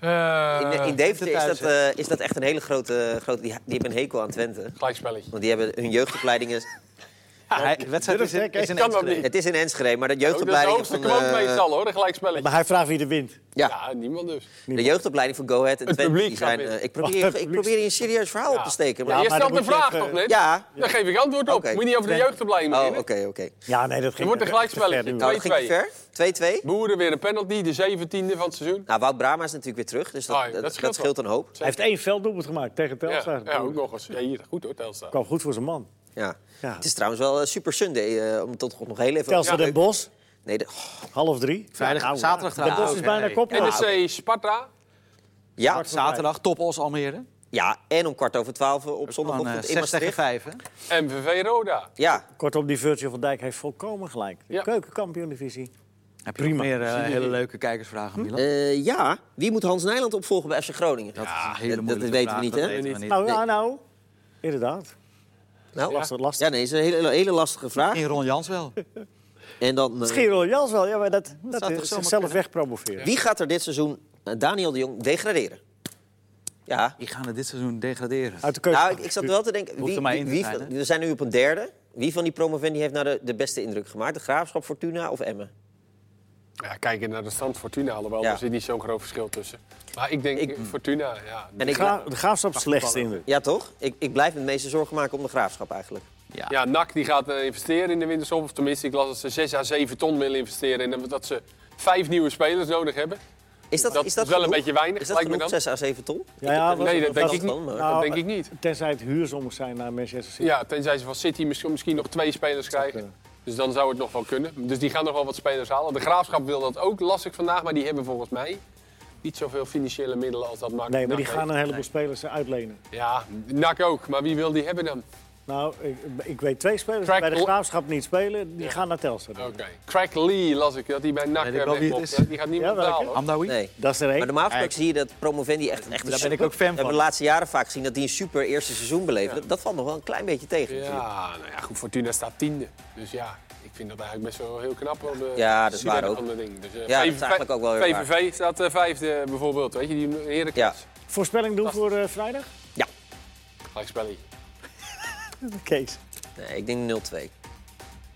[SPEAKER 4] Eh,
[SPEAKER 1] In, in Deventer is
[SPEAKER 2] thuis,
[SPEAKER 1] dat, eh, is dat echt een hele grote... grote die, die hebben een hekel aan Twente.
[SPEAKER 4] Gelijkspelletje.
[SPEAKER 1] Want die hebben hun jeugdopleidingen...
[SPEAKER 2] Ja, hij- de wedstrijd is in,
[SPEAKER 3] Durf, hè,
[SPEAKER 2] is in
[SPEAKER 4] kan dat
[SPEAKER 2] Enschede.
[SPEAKER 4] niet.
[SPEAKER 1] Het is in Enschede, maar de
[SPEAKER 4] Oh, dat is de
[SPEAKER 1] jeugdopleidingen
[SPEAKER 4] hoogste
[SPEAKER 1] van...
[SPEAKER 4] quote
[SPEAKER 1] eh,
[SPEAKER 4] meestal, hoor, een gelijkspelletje.
[SPEAKER 3] Maar hij vraagt wie er wint.
[SPEAKER 1] ja,
[SPEAKER 4] Ja, niemand dus.
[SPEAKER 1] de jeugdopleiding van Go Ahead en
[SPEAKER 4] Het
[SPEAKER 1] Twente. Die
[SPEAKER 4] publiek gaat Oh,
[SPEAKER 1] zijn,
[SPEAKER 4] winnen.
[SPEAKER 1] eh, ik, probeer, ik probeer hier een serieus verhaal op te steken. Maar
[SPEAKER 4] je
[SPEAKER 3] maar dan
[SPEAKER 4] stelt
[SPEAKER 3] moet
[SPEAKER 4] een
[SPEAKER 3] je
[SPEAKER 4] vraag
[SPEAKER 3] even-
[SPEAKER 4] toch net?
[SPEAKER 1] Ja.
[SPEAKER 4] Dan geef ik antwoord op.
[SPEAKER 1] Oké.
[SPEAKER 4] Moet je niet over de jeugd te blijven
[SPEAKER 1] Oh, oké,
[SPEAKER 4] beginnen.
[SPEAKER 1] oké.
[SPEAKER 3] Ja, nee, dat ging
[SPEAKER 4] wordt een
[SPEAKER 3] dat ging te
[SPEAKER 4] gelijkspelletje.
[SPEAKER 3] ver nu.
[SPEAKER 1] Nou, dat ging te ver. 2-2.
[SPEAKER 4] Boeren weer een penalty, de zeventiende van het seizoen.
[SPEAKER 1] Nou, Wout Brama is natuurlijk weer terug, dus dat,
[SPEAKER 4] Ah, ja,
[SPEAKER 1] dat,
[SPEAKER 4] dat
[SPEAKER 1] dat
[SPEAKER 4] scheelt
[SPEAKER 1] scheelt, een hoop.
[SPEAKER 3] Hij heeft één velddoelpunt gemaakt tegen Telstra.
[SPEAKER 4] Ja, ja, ook nog eens. Ja, hier, goed hoor, Telstra.
[SPEAKER 3] kwam goed voor zijn man.
[SPEAKER 1] Ja.
[SPEAKER 3] Ja.
[SPEAKER 1] Het is trouwens wel eh, Super Sunday, eh, om tot nog heel even...
[SPEAKER 3] Telstra Den Bos,
[SPEAKER 1] Nee, de- oh,
[SPEAKER 3] half drie.
[SPEAKER 2] Vrijdag-
[SPEAKER 3] Ja, nou,
[SPEAKER 2] zaterdag
[SPEAKER 3] Den Bos
[SPEAKER 2] trouwens.
[SPEAKER 3] is
[SPEAKER 2] Ah, oké,
[SPEAKER 3] bijna
[SPEAKER 2] nee.
[SPEAKER 3] koploper.
[SPEAKER 4] NEC Sparta.
[SPEAKER 1] ja,
[SPEAKER 2] Zaterdag, top Os Almere.
[SPEAKER 1] ja, en om kwart over twaalf eh, op
[SPEAKER 2] Van eh
[SPEAKER 1] zondagochtend in
[SPEAKER 2] 6 tegen
[SPEAKER 1] Maastricht.
[SPEAKER 2] 5, hè?
[SPEAKER 4] MVV Roda.
[SPEAKER 1] Ja,
[SPEAKER 3] Kortom, die Virgil van Dijk heeft volkomen gelijk. De
[SPEAKER 4] Ja.
[SPEAKER 3] keukenkampioen-divisie.
[SPEAKER 2] Heb je nog meer eh, hele leuke kijkersvragen, Milan?
[SPEAKER 1] eh, ja, wie moet Hans Nijland opvolgen bij FC Groningen?
[SPEAKER 2] Dat is een
[SPEAKER 1] dat-
[SPEAKER 2] hele
[SPEAKER 1] dat
[SPEAKER 2] moeilijke
[SPEAKER 1] weten we
[SPEAKER 2] vraag,
[SPEAKER 1] niet,
[SPEAKER 2] dat
[SPEAKER 1] hè?
[SPEAKER 2] weten we
[SPEAKER 3] Nou, ja, nou, inderdaad.
[SPEAKER 1] nou,
[SPEAKER 3] Lastig, lastig.
[SPEAKER 1] Ja, nee, is een hele, hele lastige vraag.
[SPEAKER 2] In Ron Jans wel.
[SPEAKER 1] En dan, eh,
[SPEAKER 3] Misschien Roel Jans wel, ja, maar dat, dat,
[SPEAKER 2] zou toch
[SPEAKER 3] is
[SPEAKER 2] zomaar
[SPEAKER 3] zichzelf
[SPEAKER 2] kunnen?
[SPEAKER 3] wegpromoveren.
[SPEAKER 1] wie gaat er dit seizoen, eh, Daniel de Jong, degraderen? Ja,
[SPEAKER 2] Die gaan er dit seizoen degraderen.
[SPEAKER 3] Uit de
[SPEAKER 1] nou,
[SPEAKER 3] keuken.
[SPEAKER 1] ik, ik zat wel te denken,
[SPEAKER 2] Hoeft
[SPEAKER 1] wie,
[SPEAKER 2] er maar
[SPEAKER 1] wie-
[SPEAKER 2] één te
[SPEAKER 1] wie
[SPEAKER 2] zijn,
[SPEAKER 1] van-
[SPEAKER 2] hè?
[SPEAKER 1] we zijn nu op een derde. Wie van die promovendi heeft nou de, de beste indruk gemaakt? De Graafschap, Fortuna of Emmen?
[SPEAKER 4] Ja, kijken naar de stand Fortuna, alhoewel
[SPEAKER 1] Ja.
[SPEAKER 4] er zit niet zo'n groot verschil tussen. Maar ik denk eh, Fortuna, ja.
[SPEAKER 1] En ik,
[SPEAKER 3] Gra- de graafschap slechtste indruk.
[SPEAKER 1] ja, toch? Ik, ik blijf me het meeste zorgen maken om de Graafschap eigenlijk.
[SPEAKER 4] Ja, NAC die gaat eh, investeren in de winterstop. Of tenminste, ik las dat ze 6 à 7 ton willen investeren. En dat ze vijf nieuwe spelers nodig hebben.
[SPEAKER 1] Is dat,
[SPEAKER 4] Dat
[SPEAKER 1] is dat
[SPEAKER 4] is wel een
[SPEAKER 1] genoeg?
[SPEAKER 4] beetje weinig,
[SPEAKER 1] Is dat
[SPEAKER 4] lijkt me
[SPEAKER 1] genoeg,
[SPEAKER 4] dan.
[SPEAKER 1] 6 à 7 ton?
[SPEAKER 3] Ja, ja,
[SPEAKER 4] Nee, dat denk
[SPEAKER 1] dat
[SPEAKER 4] ik
[SPEAKER 1] kan,
[SPEAKER 4] niet.
[SPEAKER 1] maar-
[SPEAKER 4] Eh, Dat denk ik niet.
[SPEAKER 3] Nou, Tenzij het huurzommers zijn naar Manchester City.
[SPEAKER 4] Ja, tenzij ze van City misschien, misschien nog twee spelers krijgen. Dus dan zou het nog wel kunnen. Dus die gaan nog wel wat spelers halen. De Graafschap wil dat ook, las ik vandaag. Maar die hebben volgens mij niet zoveel financiële middelen als dat maakt.
[SPEAKER 3] Nee, maar die gaan een heleboel spelers uitlenen.
[SPEAKER 4] Ja, NAC ook. Maar wie wil die hebben dan?
[SPEAKER 3] Nou, ik, ik weet twee spelers die
[SPEAKER 4] Track-
[SPEAKER 3] bij de graafschap niet spelen. Die gaan naar Telstra.
[SPEAKER 4] Oké. Craig Lee las ik, dat hij bij NAC
[SPEAKER 2] Weet ik
[SPEAKER 4] eh,
[SPEAKER 2] wel wie
[SPEAKER 4] weg
[SPEAKER 2] het
[SPEAKER 4] mocht.
[SPEAKER 2] is.
[SPEAKER 4] Die gaat niemand
[SPEAKER 3] Ja, welke?
[SPEAKER 4] betalen. hoor.
[SPEAKER 2] Amdawi?
[SPEAKER 1] Nee.
[SPEAKER 3] Dat is er
[SPEAKER 1] Maar
[SPEAKER 3] één.
[SPEAKER 1] normaal gesproken
[SPEAKER 2] Eigenlijk-
[SPEAKER 1] zie je dat Promovendi echt, echt een
[SPEAKER 2] Daar ben ik
[SPEAKER 1] super-
[SPEAKER 2] ook fan van.
[SPEAKER 1] We hebben de laatste jaren vaak gezien dat die een super eerste seizoen beleven. Dat, dat valt nog wel een klein beetje tegen. natuurlijk.
[SPEAKER 4] Ja, nou ja, goed, Fortuna staat tiende. Dus ja, ik vind dat eigenlijk best wel heel knap. Op de
[SPEAKER 1] Ja, dat is
[SPEAKER 4] sterren
[SPEAKER 1] waar ook.
[SPEAKER 4] van de ding. Dus, eh,
[SPEAKER 1] Ja, dat is eigenlijk ook wel heel
[SPEAKER 4] VVV staat eh, vijfde bijvoorbeeld, weet je, die heerlijk
[SPEAKER 1] Ja.
[SPEAKER 3] Voorspelling doen voor eh, vrijdag?
[SPEAKER 1] Ja.
[SPEAKER 4] gelijkspelling.
[SPEAKER 3] Kees.
[SPEAKER 1] Nee, ik denk 0-2.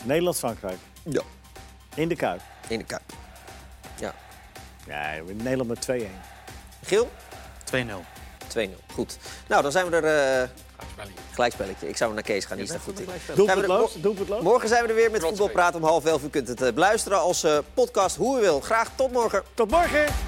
[SPEAKER 3] Nederland-Frankrijk.
[SPEAKER 1] Ja.
[SPEAKER 3] In de Kuip.
[SPEAKER 1] In de Kuip. Ja.
[SPEAKER 3] Ja, Nederland met 2-1.
[SPEAKER 1] Geel?
[SPEAKER 2] 2-0.
[SPEAKER 1] 2-0. Goed. Nou, dan zijn we er... eh
[SPEAKER 4] Gelijkspelletje.
[SPEAKER 1] gelijkspelletje. Ik zou naar Kees gaan, die is daar goed in. Zijn we er-
[SPEAKER 3] Doelpuntloos? Doelpuntloos?
[SPEAKER 1] Morgen zijn we er weer met
[SPEAKER 4] Trots
[SPEAKER 1] Voetbalpraat om half elf. U kunt het eh, beluisteren als eh, podcast hoe u wil. Graag tot morgen.
[SPEAKER 3] Tot morgen!